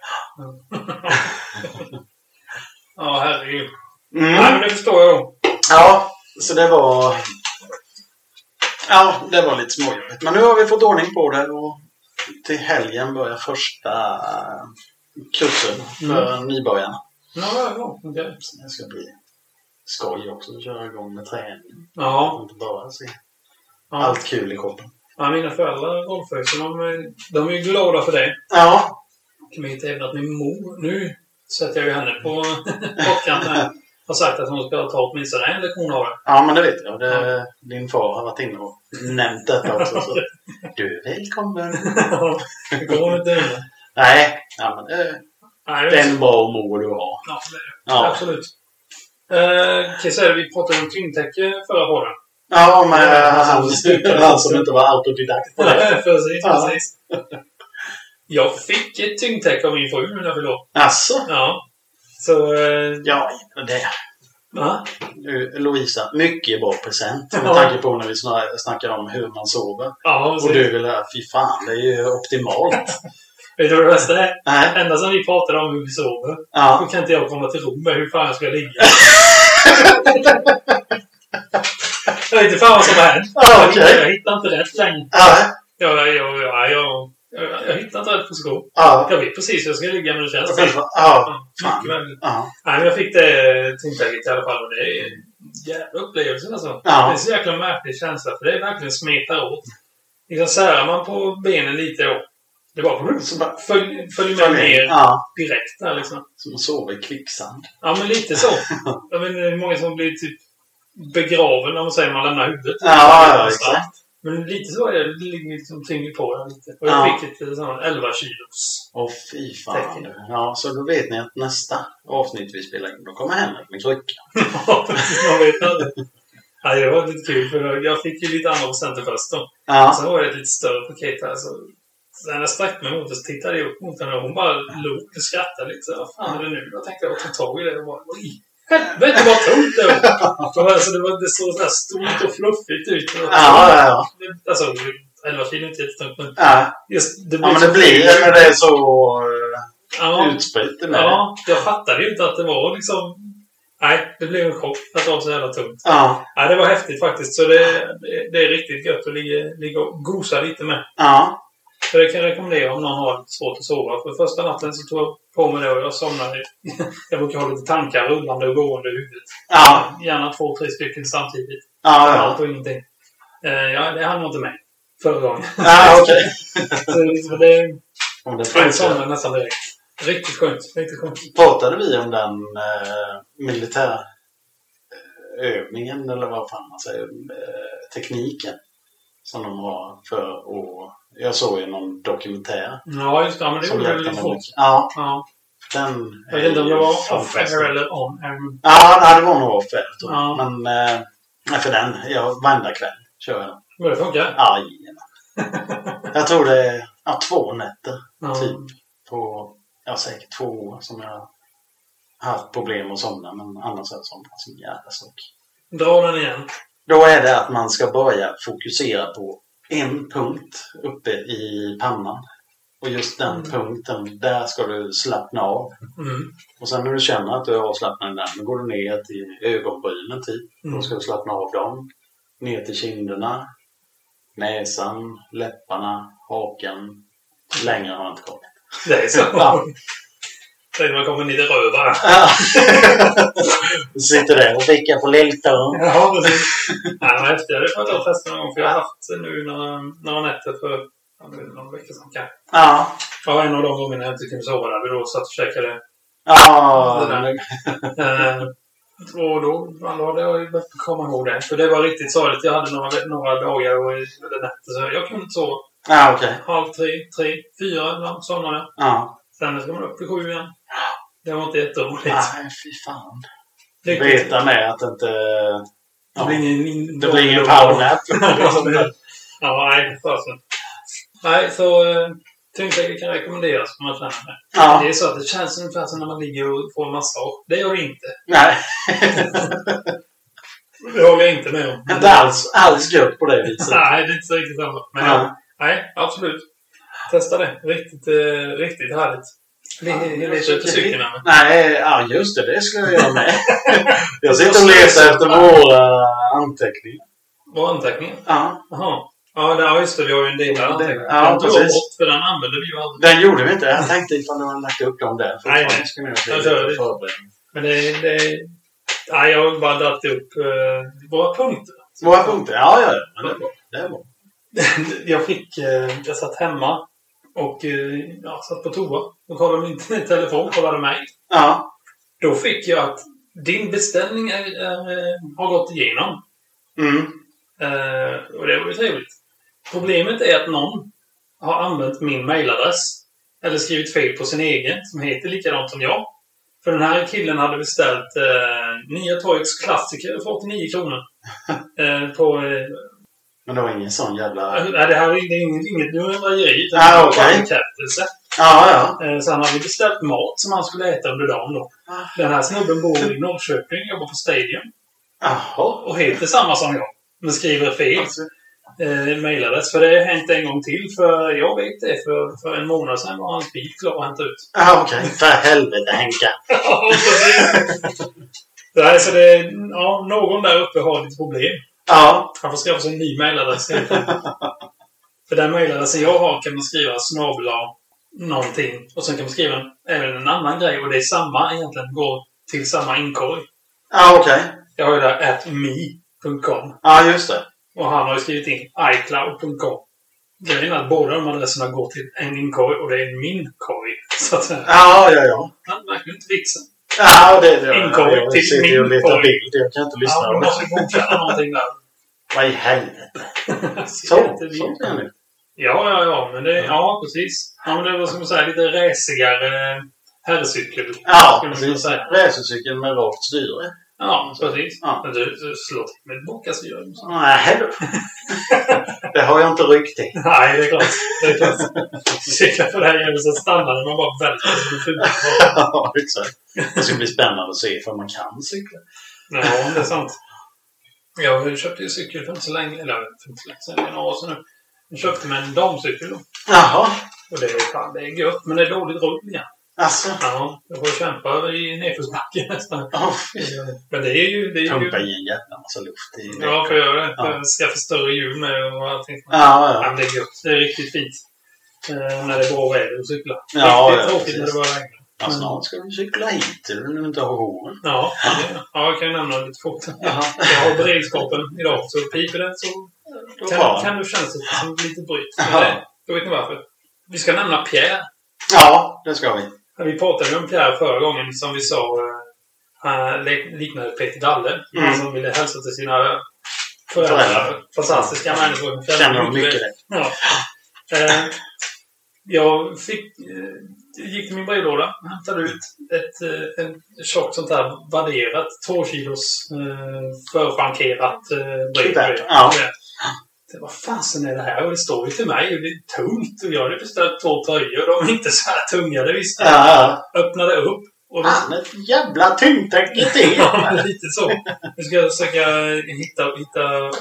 Speaker 1: ja, herregud. Nej, men
Speaker 2: Mm.
Speaker 1: det förstår jag då.
Speaker 2: Ja, så det var... Ja, det var lite småjobbigt. Men nu har vi fått ordning på det och till helgen börjar första kursen för
Speaker 1: Mm.
Speaker 2: nybörjarna.
Speaker 1: Ja, ja, ja. okej.
Speaker 2: Så det ska bli skoj också att köra igång med träning.
Speaker 1: Ja,
Speaker 2: Inte bara se
Speaker 1: ja.
Speaker 2: allt kul i shoppen.
Speaker 1: ja, mina föräldrar golfar ju, så de, är- de är ju glada för det.
Speaker 2: Ja,
Speaker 1: Kan man inte även att min mor, nu sätter jag ju henne på pottkanten här, har sagt att hon ska ta åtminstone en lektion av det.
Speaker 2: ja, men det vet jag. Det, Din far har varit inne och nämnt detta också. Så. Du är välkommen!
Speaker 1: Det går inte in.
Speaker 2: Nej, ja, men det,
Speaker 1: Nej,
Speaker 2: det är en bra mor du har.
Speaker 1: Ja, det är det.
Speaker 2: Ja.
Speaker 1: Absolut. Eh, Kisse, vi pratade om tyngdtäcke förra året.
Speaker 2: Ja, men eh, han, han som inte var autodidakt på det.
Speaker 1: precis,
Speaker 2: Ja.
Speaker 1: precis. Jag fick ett tyngdtäcke av min fru när jag fyllde år.
Speaker 2: Alltså,
Speaker 1: Ja. Så... Eh,
Speaker 2: ja, det.
Speaker 1: ja.
Speaker 2: Nu, Lovisa, mycket bra present. Med
Speaker 1: Ja.
Speaker 2: tanke på när vi sna- snackar om hur man sover.
Speaker 1: Ja,
Speaker 2: Och
Speaker 1: precis.
Speaker 2: du ville, fy fan, det är ju optimalt.
Speaker 1: Vet du vad det bästa är?
Speaker 2: Nej,
Speaker 1: Ända sedan vi pratade om hur vi sover, då
Speaker 2: ja.
Speaker 1: kan inte jag komma till ro med hur fan jag ska ligga. jag vet inte fan vad som har hänt.
Speaker 2: Ja, okej.
Speaker 1: Jag hittar inte rätt längre.
Speaker 2: Ja,
Speaker 1: Jag, jag, jag, jag, jag, jag, jag hittar inte rätt position.
Speaker 2: ja.
Speaker 1: Jag vet precis hur jag ska ligga, men det känns fel.
Speaker 2: Ja, ja.
Speaker 1: Ja, mycket väl.
Speaker 2: ja.
Speaker 1: Nej, men jag fick det tyngdläget i alla fall och det är en jävla upplevelse alltså.
Speaker 2: Ja.
Speaker 1: Det är en så jäkla märklig känsla för det är verkligen smetar åt. Liksom särar man på benen lite då. Det bara
Speaker 2: Så bara-
Speaker 1: följ- följer med ner
Speaker 2: Ja,
Speaker 1: direkt där liksom.
Speaker 2: som att sova i kvicksand.
Speaker 1: Ja, men lite så. Jag menar, det är många som blir typ begraven om man säger man lämnar huvudet.
Speaker 2: Ja, ja,
Speaker 1: Någonstans.
Speaker 2: exakt.
Speaker 1: Men lite så är det. Det ligger liksom tyngre på den lite. Och jag
Speaker 2: Ja.
Speaker 1: fick ett eh, sånt 11 kilos.
Speaker 2: Åh, fy fan. Ja, så då vet ni att nästa avsnitt vi spelar in, då kommer Henrik med kryckan.
Speaker 1: Ja, man vet aldrig. Nej, det var lite kul för jag fick ju lite andra presenter först då.
Speaker 2: Ja,
Speaker 1: Sen var det ett lite större paket här. Så så när jag sträckte mig mot det så tittade jag upp mot henne och hon bara log och skrattade lite. Vad fan är det nu? Jag tänkte jag tog tag i det och bara oj! Helvete vad tungt det var! För Alltså, det, var, det såg så här stort och fluffigt ut. Och,
Speaker 2: ja, ja. ja.
Speaker 1: Det- Alltså, 11 kilo är inte jättetungt men
Speaker 2: ja.
Speaker 1: just det
Speaker 2: Ja, men
Speaker 1: så-
Speaker 2: det blir ju när det är så
Speaker 1: ja,
Speaker 2: uh, utspritt. det med det.
Speaker 1: ja, jag fattade ju inte att det var liksom... Nej, det blev en chock att det var så jävla tungt.
Speaker 2: Ja,
Speaker 1: Ja, det var häftigt faktiskt. Så det, det, det är riktigt gött att ligga, ligga och gosa lite med.
Speaker 2: ja,
Speaker 1: Så det kan jag rekommendera om någon har svårt att sova. För första natten så tog jag på mig det och jag somnade. Jag brukar ha lite tankar rullande och gående i huvudet.
Speaker 2: ja,
Speaker 1: Gärna två, tre stycken samtidigt.
Speaker 2: ja, ja.
Speaker 1: Allt och ingenting. Eh, ja, det hann jag inte med förra gången.
Speaker 2: ja okej.
Speaker 1: Så liksom det,
Speaker 2: Om det
Speaker 1: jag
Speaker 2: funkar.
Speaker 1: somnade nästan direkt. Riktigt skönt. Riktigt skönt.
Speaker 2: Pratade vi om den eh, militärövningen, eller vad fan man säger, eh, tekniken som de har för att... Jag såg ju någon dokumentär
Speaker 1: Ja, just det. Ja, men det
Speaker 2: som
Speaker 1: gjorde jag
Speaker 2: hjälpte
Speaker 1: lite
Speaker 2: mig
Speaker 1: fort.
Speaker 2: mycket. Ja,
Speaker 1: Ja.
Speaker 2: den
Speaker 1: Jag vet inte om det
Speaker 2: ju
Speaker 1: var
Speaker 2: fantastisk.
Speaker 1: off-air eller on-air. men-
Speaker 2: Ja, nej, det var nog off-air. tror jag.
Speaker 1: Ja.
Speaker 2: Men eh, nej, för den, jag, varenda kväll kör jag den.
Speaker 1: Men det funkar.
Speaker 2: Aj. Jag tror det är ja, två nätter
Speaker 1: Ja.
Speaker 2: Typ. på, ja säkert två år som jag haft problem att somna men annars har jag somnat som en jävla stock.
Speaker 1: Dra den igen.
Speaker 2: Då är det att man ska börja fokusera på en punkt uppe i pannan. Och just den
Speaker 1: Mm.
Speaker 2: punkten, där ska du slappna av.
Speaker 1: Mm.
Speaker 2: Och sen när du känner att du är avslappnad där, då går du ner till ögonbrynen typ.
Speaker 1: Mm.
Speaker 2: Då ska du slappna av dem. Ner till kinderna, näsan, läpparna, hakan. Längre har jag inte kommit.
Speaker 1: Det är så.
Speaker 2: Ja.
Speaker 1: Tänk man kommer ner i rövaren.
Speaker 2: Du sitter där och vickar på lilltån.
Speaker 1: Ja, precis. Nej, men häftigt. Det får jag ta och testa någon gång. För jag har haft nu några, några nätter för ja, det är någon vecka sedan kanske.
Speaker 2: Ja.
Speaker 1: Det var en av de gångerna jag inte kunde sova där. Vi då satt och käkade.
Speaker 2: Ja. men-
Speaker 1: Eh, och då, fan, då hade jag ju börjat komma ihåg det. För det var riktigt sorgligt. Jag hade några, några dagar och eller nätter så jag kunde inte sova.
Speaker 2: Ja, okej.
Speaker 1: Halv tre, tre, fyra ibland somnade jag.
Speaker 2: Ja.
Speaker 1: Sen ska man upp till sju igen. Det var inte jätteroligt.
Speaker 2: Nej, fy fan.
Speaker 1: Lyckligt.
Speaker 2: Veta med att inte...
Speaker 1: Det blir ingen,
Speaker 2: Det blir ingen powernap.
Speaker 1: ja, nej, fasen. Nej, så eh, tyngdläge kan rekommenderas om man tränar det.
Speaker 2: Ja.
Speaker 1: Det är så att det känns ungefär som när man ligger och får en massage. Det gör det inte.
Speaker 2: Nej.
Speaker 1: Det håller jag inte med om.
Speaker 2: Inte alls, alls gött på det viset.
Speaker 1: Nej, det är inte så riktigt samma. Men
Speaker 2: Ja.
Speaker 1: nej, absolut. Testa det. Riktigt, eh, riktigt härligt. Vi är lite efter cykeln.
Speaker 2: Nej, ja just det. Det ska jag göra med. jag sitter och letar efter våra anteckningar.
Speaker 1: Vår anteckning?
Speaker 2: Ja,
Speaker 1: Jaha. Ja, det, ja, just det. Vi har ju en del anteckningar.
Speaker 2: Ja,
Speaker 1: Den tog jag
Speaker 2: precis.
Speaker 1: bort, för den använde vi ju aldrig.
Speaker 2: den gjorde vi inte. Jag tänkte ifall du hade lagt upp dem där. För
Speaker 1: Nej,
Speaker 2: fan,
Speaker 1: nej.
Speaker 2: ska vi
Speaker 1: Jag
Speaker 2: nog
Speaker 1: kör det.
Speaker 2: bli förberedda.
Speaker 1: Men det, det nej, jag har bara dragit upp eh, våra punkter.
Speaker 2: Våra punkter? Ja, ja. ja. Men det är bra. Det är bra.
Speaker 1: jag fick, eh, jag satt hemma och eh, ja, satt på toa. Då kollade min telefon, kollade mig.
Speaker 2: Ja.
Speaker 1: Då fick jag att din beställning är, är, eh, har gått igenom.
Speaker 2: Mm.
Speaker 1: Eh, och det var ju trevligt. Problemet är att någon har använt min mailadress. Eller skrivit fel på sin egen, som heter likadant som jag. För den här killen hade beställt eh, Nya Torgets klassiker för 89 kronor. eh, på, eh,
Speaker 2: Men det var ingen sån jävla...
Speaker 1: Alltså, nej, det här är det är inget, inget lurendrejeri. utan
Speaker 2: Ah,
Speaker 1: det var
Speaker 2: okej.
Speaker 1: bara en bekräftelse.
Speaker 2: Ja, ja.
Speaker 1: Eh, Så han hade beställt mat som han skulle äta under dagen då.
Speaker 2: Ah.
Speaker 1: Den här snubben bor i Norrköping, jobbar på Stadium
Speaker 2: Jaha.
Speaker 1: och heter samma som jag. Men skriver fel. Eh, mejlades. För det har hänt en gång till. För jag vet det. För, för en månad sedan var hans bil klar och hämtade ut.
Speaker 2: Ja, okej. För helvete Henka.
Speaker 1: Ja, precis. Nej, så det, ja, någon där uppe har lite problem.
Speaker 2: Ja.
Speaker 1: Han får skaffa sig en ny mejladress. För den mejladressen jag har kan man skriva snabla någonting. Och sen kan man skriva även en annan grej. Och det är samma egentligen. Går till samma inkorg.
Speaker 2: Ja, okej.
Speaker 1: Jag har ju där atme.com.
Speaker 2: Ja, just det.
Speaker 1: Och han har ju skrivit in iCloud.com. Grejen är att båda de adresserna går till en inkorg och det är min korg. Så att säga.
Speaker 2: Ja, ja, ja.
Speaker 1: Han verkar inte fixa.
Speaker 2: Ja, det är det.
Speaker 1: Inkorg
Speaker 2: Jag
Speaker 1: till
Speaker 2: sitter ju och letar
Speaker 1: minkorg.
Speaker 2: bild. Jag kan inte lyssna.
Speaker 1: Ja,
Speaker 2: på
Speaker 1: du
Speaker 2: det.
Speaker 1: måste godkänna någonting där.
Speaker 2: Vad i helvete.
Speaker 1: Ser
Speaker 2: Så,
Speaker 1: inte vi.
Speaker 2: så kan det.
Speaker 1: Ja, ja, ja. Men det, ja, precis. Ja, men det var som att säga lite resigare herrcykel.
Speaker 2: Ja,
Speaker 1: skulle man kunna
Speaker 2: precis.
Speaker 1: säga.
Speaker 2: Racercykeln med rakt styre.
Speaker 1: Ja, precis.
Speaker 2: Ja.
Speaker 1: Men du, du slår till med ett bock, alltså, gör du så.
Speaker 2: Nej, du. det har jag inte ryckt i.
Speaker 1: Nej, det är klart. Det är klart. Cykla på det här jävla så stannar den. Man bara välter som en fula.
Speaker 2: Ja, exakt. Det ska bli spännande att se om man kan cykla.
Speaker 1: Ja, det är sant. Jag köpte ju cykel för inte så länge, eller för inte så länge sedan, det är några år sedan nu. Jag köpte mig en damcykel då.
Speaker 2: Jaha.
Speaker 1: Och det är fan, det är gött, men det är dåligt rull igen.
Speaker 2: Alltså.
Speaker 1: Ja, jag får kämpa i nedförsbacke nästan.
Speaker 2: Oh,
Speaker 1: Men det är ju... Det är
Speaker 2: Pumpa
Speaker 1: ju
Speaker 2: i en jävla massa luft i
Speaker 1: ja, för jag,
Speaker 2: Ja.
Speaker 1: jag skaffa större hjul med och allting.
Speaker 2: Ja,
Speaker 1: Ja,
Speaker 2: ja.
Speaker 1: men det är gött. Det är riktigt fint. Eh, när det är bra väder att cykla.
Speaker 2: Ja,
Speaker 1: riktigt
Speaker 2: ja,
Speaker 1: tråkigt
Speaker 2: precis.
Speaker 1: när det bara regnar.
Speaker 2: ja. Snart ska du cykla hit. Du vill inte ha håren.
Speaker 1: Ja, ja, jag kan ju nämna lite fort.
Speaker 2: Jaha.
Speaker 1: Jag har beredskapen idag, så piper det så
Speaker 2: Då
Speaker 1: Kan,
Speaker 2: tar han.
Speaker 1: kan du känna sig som lite bryt?
Speaker 2: Ja.
Speaker 1: Men, Då vet ni varför. Vi ska nämna Pierre.
Speaker 2: Ja, det ska vi.
Speaker 1: Vi pratade ju om Pierre förra gången som vi sa. eh, Han lik- liknade Peter Dalle.
Speaker 2: Mm.
Speaker 1: Han som ville hälsa till sina föräldrar.
Speaker 2: Föräldrar. Mm.
Speaker 1: Fantastiska människor.
Speaker 2: Känner de mycket det?
Speaker 1: Ja. Eh, jag fick, eh, gick till min brevlåda och hämtade ut ett, eh, en tjockt sånt här värderat, 2 kilos eh, förfrankerat eh, brev.
Speaker 2: Kuvert, ja.
Speaker 1: Det, vad fasen är det här? Och det står ju till mig och det är tungt. Och jag hade beställt två tröjor. De är inte så här tunga, det visste jag.
Speaker 2: Ja.
Speaker 1: Öppnade upp. Och då,
Speaker 2: Han är ett jävla tyngdtäcke till.
Speaker 1: Ja, men lite så. Nu ska jag försöka hitta, hitta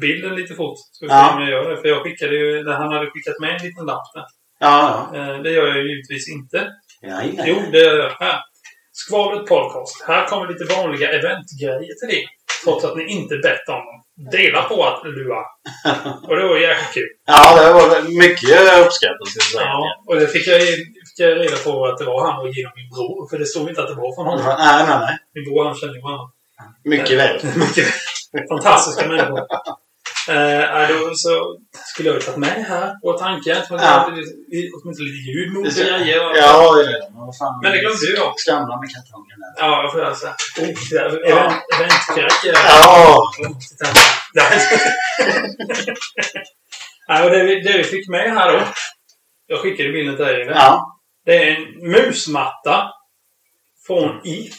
Speaker 1: bilden lite fort. Ska vi se
Speaker 2: Ja.
Speaker 1: om jag gör det. För jag skickade ju, han hade skickat med en liten lapp där.
Speaker 2: Ja, ja.
Speaker 1: Eh, Det gör jag ju givetvis inte.
Speaker 2: Ja, ja.
Speaker 1: Jo, det gör jag. Här. Skvallret Podcast. Här kommer lite vanliga eventgrejer till er. Trots att ni inte bett om dem. Dela på att lua. Och det var jäkligt kul.
Speaker 2: Ja, det var mycket uppskattat. ska jag säga.
Speaker 1: Ja, och det fick jag, fick jag reda på att det var han och genom min bror. För det stod inte att det var från honom.
Speaker 2: Nej, nej, nej.
Speaker 1: Min bror han känner ju varandra.
Speaker 2: Mycket väl.
Speaker 1: Mycket fantastiska människor. Eh, eh, då så skulle jag ju tagit med det här på tanken. Att man
Speaker 2: Ja.
Speaker 1: hade lite- åtminstone lite ljud mot det jag ger.
Speaker 2: Ja, ja, ja. Vad fan.
Speaker 1: Men det glömde ju jag.
Speaker 2: Skramla med kattungen där.
Speaker 1: Ja, jag får göra så här. Oh, det där är event- Eventcracker.
Speaker 2: Ja!
Speaker 1: Titta här. Där. Nej, och det, vi- det vi fick med här då. Jag skickade bilden till dig. innan.
Speaker 2: Ja.
Speaker 1: Det är en musmatta. Från IF.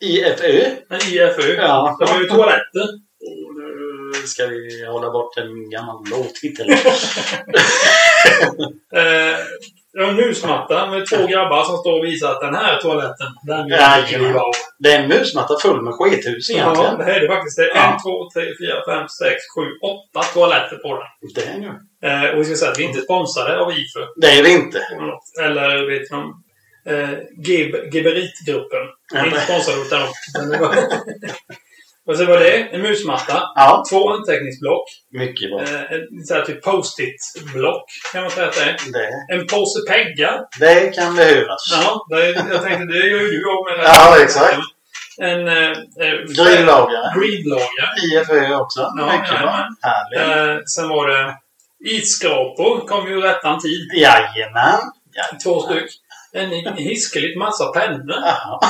Speaker 2: IFU.
Speaker 1: Nej, IFU.
Speaker 2: Ja.
Speaker 1: De har ju toaletter.
Speaker 2: Och nu ska vi hålla bort en gammal låttitel.
Speaker 1: Eh, Det var en musmatta med två grabbar som står och visar att den här toaletten, den är
Speaker 2: Jajamän.
Speaker 1: vi av.
Speaker 2: Det är en musmatta full med skithus
Speaker 1: Ja,
Speaker 2: egentligen.
Speaker 1: det här är det faktiskt. Det är
Speaker 2: Ja.
Speaker 1: en, två, tre, fyra, fem, sex, sju, åtta toaletter på den.
Speaker 2: Det är, ju.
Speaker 1: Eh, och vi ska säga att vi inte är sponsrade av IFÖ.
Speaker 2: det är det inte.
Speaker 1: eller något. Eller vet ni om eh, Gib, Gibberitgruppen. Vi är inte sponsrade utan dem. Men det var- Och så var det en musmatta.
Speaker 2: Ja,
Speaker 1: Två anteckningsblock.
Speaker 2: mycket bra.
Speaker 1: Eh, en så här typ post-it-block kan man säga att det är.
Speaker 2: Det,
Speaker 1: En påse pengar.
Speaker 2: det kan behöras.
Speaker 1: Ja, det, jag tänkte det gör ju du av med.
Speaker 2: Ja, exakt.
Speaker 1: En eh,
Speaker 2: Grillagare.
Speaker 1: greenlager.
Speaker 2: IFÖ också.
Speaker 1: Ja,
Speaker 2: mycket bra.
Speaker 1: jajamän.
Speaker 2: Härligt.
Speaker 1: Eh, sen var det isskrapor. Kom ju rättan tid.
Speaker 2: Jajamän.
Speaker 1: Två styck. En hiskeligt massa pennor.
Speaker 2: Jaha.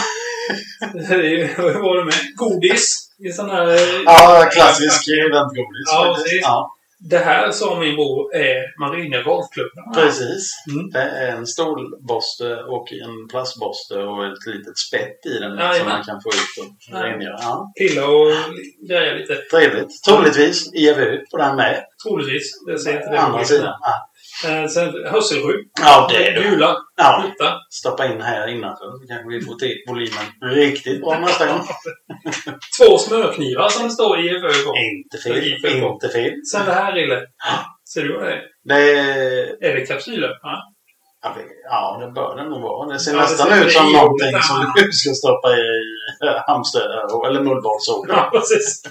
Speaker 1: Vad var det med? Godis. I sån här... eh,
Speaker 2: Ja, klassisk eventgodis.
Speaker 1: Ja,
Speaker 2: faktiskt.
Speaker 1: precis.
Speaker 2: Ja,
Speaker 1: Det här sa min bror är Marine Golfklubb.
Speaker 2: precis.
Speaker 1: Mm.
Speaker 2: Det är en stålborste och en plastborste och ett litet spett i den som
Speaker 1: Jajamän.
Speaker 2: man kan få ut och rengöra. Ja,
Speaker 1: Pilla och grejer lite.
Speaker 2: trevligt. Troligtvis IFU på den med.
Speaker 1: Troligtvis. Det ser inte det
Speaker 2: Andra
Speaker 1: ut.
Speaker 2: sidan. Ja.
Speaker 1: Eh, Sen hörselskydd.
Speaker 2: Ja, det är du.
Speaker 1: Gula.
Speaker 2: Ja,
Speaker 1: Ruta.
Speaker 2: stoppa in här innanför så kanske vi får till volymen riktigt bra nästa gång.
Speaker 1: Två smörknivar som det står i övergång.
Speaker 2: Inte fel. Inte fel.
Speaker 1: Sen det här lille. Ser du vad det är?
Speaker 2: Det är
Speaker 1: Är det Ah, kapsylöppnare?
Speaker 2: Ja, vi- Ja, det bör det nog vara. Det ser
Speaker 1: Ja, det
Speaker 2: nästan
Speaker 1: ser
Speaker 2: ut som
Speaker 1: det i
Speaker 2: någonting
Speaker 1: ordet.
Speaker 2: som du ska stoppa i eh, hamster eller mullvadsåren.
Speaker 1: Ja, precis.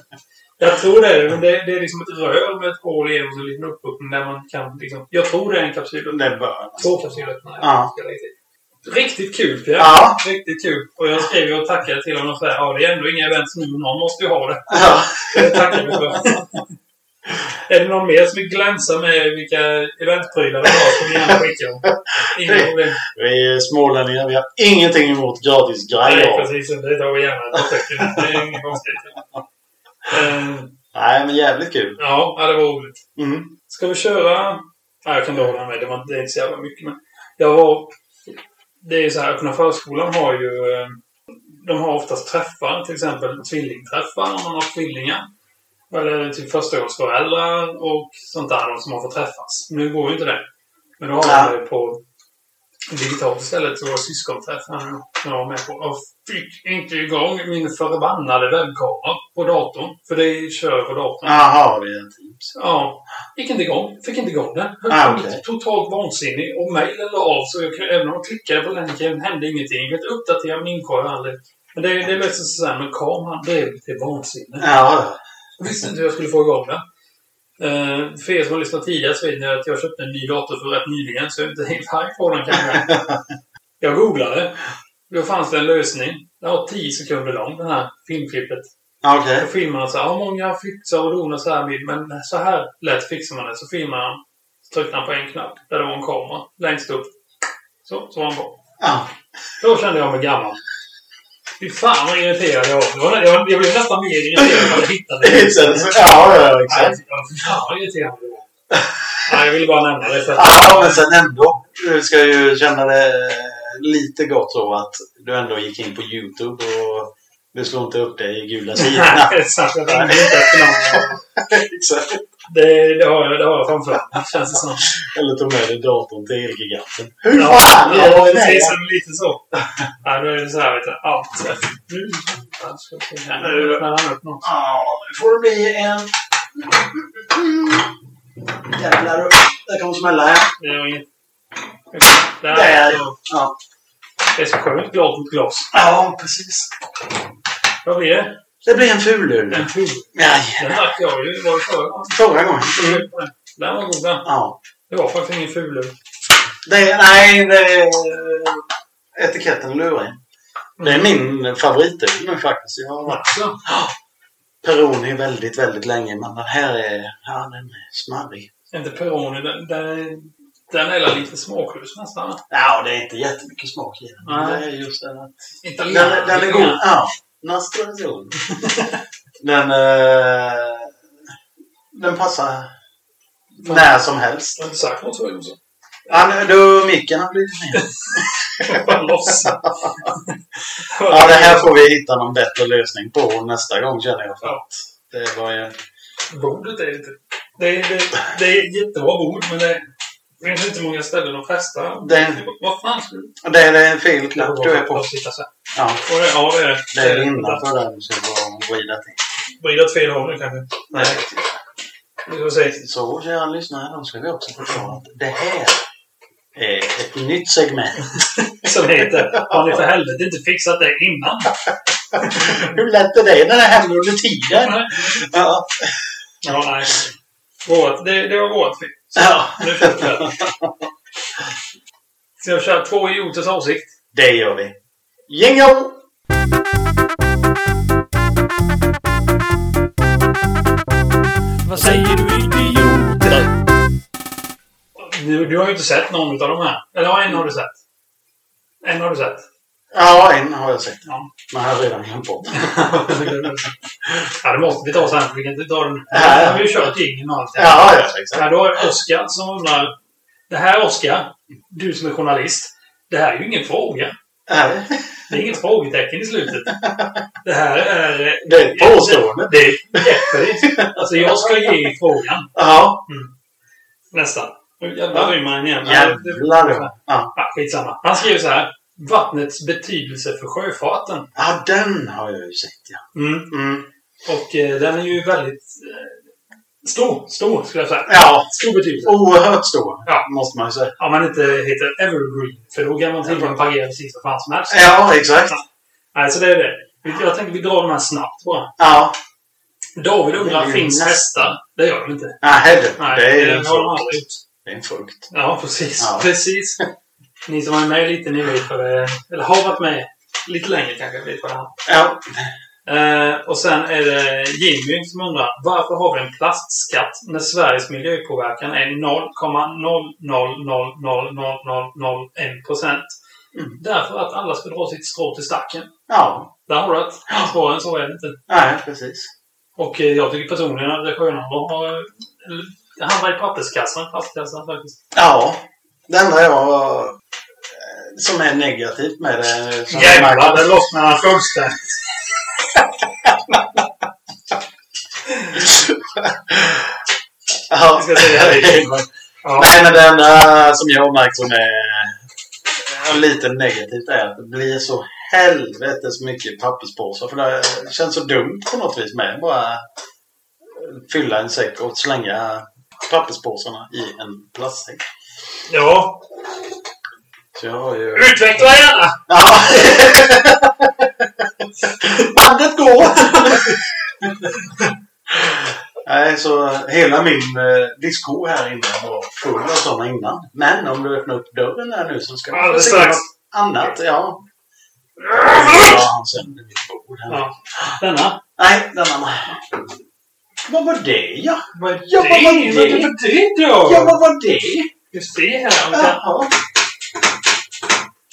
Speaker 1: Jag tror det är det, men det. Det är liksom ett rör med ett hål igenom och så en liten uppöppning där man kan liksom... Jag tror det är en kapsyl.
Speaker 2: Det bör
Speaker 1: Två kapsylöppnare.
Speaker 2: Ja.
Speaker 1: Riktigt kul Pierre.
Speaker 2: Ja.
Speaker 1: Riktigt kul. Och jag skrev ju och tackade till honom för ja, det är ändå inga events nu, men någon måste ju ha det.
Speaker 2: Ja.
Speaker 1: Det tackar vi för. är det någon mer som vill glänsa med vilka eventprylar vi har som ni gärna skickar? om? Inga problem.
Speaker 2: Vi är smålänningar. Vi har ingenting emot gratis
Speaker 1: Nej,
Speaker 2: grejer.
Speaker 1: precis. Det tar vi gärna. Det tycker jag. Det är inget konstigt. Eh,
Speaker 2: Nej, men jävligt kul.
Speaker 1: Ja, ja, det var roligt.
Speaker 2: Mm.
Speaker 1: Ska vi köra... Ja, jag kan dra den med. Det, var, det är inte så jävla mycket. Men jag var... Det är ju så här, öppna förskolan har ju... eh, De har oftast träffar, till exempel tvillingträffar om man har tvillingar. Eller typ förstaårsföräldrar och sånt där, de som har fått träffas. Nu går ju inte det. Men då har man
Speaker 2: Nej.
Speaker 1: det på digitalt istället. Så var det syskonträffen jag var med på. Och fick inte igång min förbannade webbkamera på datorn. För det kör på datorn.
Speaker 2: Jaha, vi är Teams.
Speaker 1: Ja, gick inte igång. Fick inte igång den. Höll
Speaker 2: Ah,
Speaker 1: på
Speaker 2: okej.
Speaker 1: Totalt vansinnig. Och mejlen la av så jag kunde, även om jag klickade på länken hände ingenting. Jag kunde inte uppdatera min inkorg aldrig. Men det, det löste sig sådär med kameran. Drev till vansinne.
Speaker 2: Ja,
Speaker 1: Jag visste inte hur jag skulle få igång den. Eh, för er som har lyssnat tidigare så vet ni att jag köpte en ny dator för rätt nyligen så jag är inte helt haj på den kanske. Jag googlade. Då fanns det en lösning. Den var 10 sekunder lång, den här filmklippet.
Speaker 2: ja, okej.
Speaker 1: Då filmar han så här, ja, många fixar och donar så här med, men så här lätt fixar man det. Så filmar han, så tryckte han på en knapp där det var en kamera längst upp. Så, så var han på.
Speaker 2: Ja.
Speaker 1: Då kände jag mig gammal. Fy fan vad irriterad jag var. Det var. Jag, jag blev nästan mer irriterad när jag hittade det.
Speaker 2: Sen så- Ja, ja,
Speaker 1: Nej,
Speaker 2: exakt.
Speaker 1: fy fan vad irriterad jag var. Nej, jag ville bara nämna det. För att,
Speaker 2: Ja, men sen ändå. Du ska ju känna det eh, lite gott så att du ändå gick in på YouTube och du slog inte upp dig i gula sidorna.
Speaker 1: Nej, så att jag ringde inte efter någon.
Speaker 2: Exakt.
Speaker 1: Det, det, har jag, det har jag framför mig, känns det som.
Speaker 2: Eller tog med dig datorn till Elgiganten. Hur
Speaker 1: Ja,
Speaker 2: fan gör
Speaker 1: ja
Speaker 2: jag
Speaker 1: precis.
Speaker 2: det?
Speaker 1: men Lite så. Ja, då är det så här, vet du. Allt. Nu fan, ska vi se här. Nu öppnar han upp något.
Speaker 2: Ja, nu får det bli en... Jävlar, det kommer smälla här.
Speaker 1: Det är inget...
Speaker 2: Där.
Speaker 1: Där.
Speaker 2: Ja,
Speaker 1: Det är så skönt. Glas mot glas.
Speaker 2: ja precis.
Speaker 1: Vad blir det?
Speaker 2: Det blir en fulul.
Speaker 1: En pub.
Speaker 2: Ja,
Speaker 1: Den drack jag ju. Det var förra gången.
Speaker 2: förra gången. Mm.
Speaker 1: Den var god den.
Speaker 2: Ja.
Speaker 1: Det var faktiskt ingen fulur.
Speaker 2: Det, nej, det är eh, etiketten lurar in. Det är min favoritöl nu faktiskt. Jag har varit
Speaker 1: Matcha.
Speaker 2: Peroni väldigt, väldigt länge. Men den här är, ja, den är smarrig.
Speaker 1: Inte Peroni. Den, den, den är lite smaklös nästan.
Speaker 2: Ja, det är inte jättemycket smak i den. men
Speaker 1: Nej.
Speaker 2: Det är just den att Den,
Speaker 1: Italienare.
Speaker 2: den, är god. Ja. Nastration. den, eh, den passar när som helst.
Speaker 1: Jag har inte sagt något så Jonsson.
Speaker 2: Ja, nu- du, micken har blivit med.
Speaker 1: Bara loss.
Speaker 2: Ja, det här får vi hitta någon bättre lösning på nästa gång känner jag. För att det var ju...
Speaker 1: Bordet är lite... Det är, det, det är ett jättebra bord, men det, Jag vet inte hur många ställen de festar.
Speaker 2: Det-
Speaker 1: Vad fan skulle det
Speaker 2: Det är en fel knapp du är på.
Speaker 1: Sitta så här.
Speaker 2: Ja,
Speaker 1: Och det- Ja, det är
Speaker 2: det är innanför där du ska bara vrida till.
Speaker 1: Vrida åt fel håll nu kanske.
Speaker 2: Nej,
Speaker 1: Vi får se.
Speaker 2: så kära lyssnare, då ska vi också förklara att det här är ett nytt segment.
Speaker 1: Som heter Har ni för helvete inte fixat det innan?
Speaker 2: Hur lätt är det när det händer under tiden? Ja.
Speaker 1: Ja, nej. Vårt, det, det var vårt fel.
Speaker 2: ja,
Speaker 1: Nu fortsätter vi. Ska jag köra två idioters avsikt?
Speaker 2: det gör vi. Jingle!
Speaker 4: Vad säger du idiot?
Speaker 1: Du, du har ju inte sett någon av de här. Eller ja, en har du sett. En har du sett.
Speaker 2: Ja, en har jag sett.
Speaker 1: Ja.
Speaker 2: Men jag har redan glömt bort.
Speaker 1: ja, det måste vi ta sen. för Vi kan inte ta den.
Speaker 2: Ja.
Speaker 1: Här har vi ju kört jingeln och allt. det här.
Speaker 2: Ja, ja, exakt.
Speaker 1: Ja, då är Oskar som undrar. Det här Oskar, du som är journalist. Det här är ju ingen fråga.
Speaker 2: Ja,
Speaker 1: Det är inget frågetecken i slutet. Det här är... eh,
Speaker 2: Det är ett påstående.
Speaker 1: Det är jättefint. Alltså, jag ska ge frågan.
Speaker 2: Ja,
Speaker 1: Nästan. Nu jävlar rymmer han igen.
Speaker 2: jävlar ja. ja.
Speaker 1: Ja, skitsamma. Han skriver så här. Vattnets betydelse för sjöfarten.
Speaker 2: Ja, den har jag ju sett ja.
Speaker 1: Mm.
Speaker 2: Mm.
Speaker 1: Och eh, den är ju väldigt eh, stor. Stor, skulle jag säga.
Speaker 2: Ja,
Speaker 1: Stor betydelse.
Speaker 2: oerhört stor.
Speaker 1: Ja.
Speaker 2: Måste man ju säga.
Speaker 1: Om man inte heter Evergreen, för då kan man tydligen parera precis vad fan som helst.
Speaker 2: Ja, exakt.
Speaker 1: Nej, så det är det. Vi- Jag tänker vi drar de här snabbt bara.
Speaker 2: Ja.
Speaker 1: David undrar,
Speaker 2: Det är
Speaker 1: finns
Speaker 2: nästan-
Speaker 1: hästar? Det gör de inte.
Speaker 2: Nej, du.
Speaker 1: Nej,
Speaker 2: Det är ju en
Speaker 1: har de
Speaker 2: frukt.
Speaker 1: aldrig gjort.
Speaker 2: Det är en frukt.
Speaker 1: Ja, precis.
Speaker 2: Ja.
Speaker 1: Precis. Ni som är med lite, ni vet vad det är. Eller har varit med lite längre kanske, vet vad det är.
Speaker 2: Ja.
Speaker 1: Eh, och sen är det Jimmy som undrar varför har vi en plastskatt när Sveriges miljöpåverkan är 0,0000001 procent?
Speaker 2: Mm.
Speaker 1: Därför att alla ska dra sitt strå till stacken.
Speaker 2: Ja.
Speaker 1: Där har du det. Svårare än så är det inte.
Speaker 2: Nej, precis.
Speaker 1: Och eh, jag tycker personligen att det är skönare att ha... eller, Det handlar i papperskassan, plastkassan faktiskt.
Speaker 2: Ja. Det enda jag... eh, Som är negativt med det... som jag märker-
Speaker 1: lossnade han fullständigt.
Speaker 2: Ja.
Speaker 1: Jag ska säga det. Ja.
Speaker 2: Nej, men det enda som jag har märkt som är ja, lite negativt är att det blir så helvetes mycket papperspåsar. För det känns så dumt på något vis med. Bara fylla en säck och slänga papperspåsarna i en plastsäck.
Speaker 1: ja.
Speaker 2: Så jag har ju...
Speaker 1: Utveckla gärna!
Speaker 2: Ja. Bandet går! Nej, så hela min eh, disko här inne var full av sådana innan. Men om du öppnar upp dörren här nu så ska du
Speaker 1: Alldeles
Speaker 2: se
Speaker 1: strax.
Speaker 2: något annat. Ja. ja han sönder mitt bord här.
Speaker 1: Ja. Denna.
Speaker 2: Nej, den andra. Vad var det ja?
Speaker 1: Vad är
Speaker 2: Ja, vad var det?
Speaker 1: var det då?
Speaker 2: Ja, vad var det?
Speaker 1: Just det här. om det-
Speaker 2: Ja,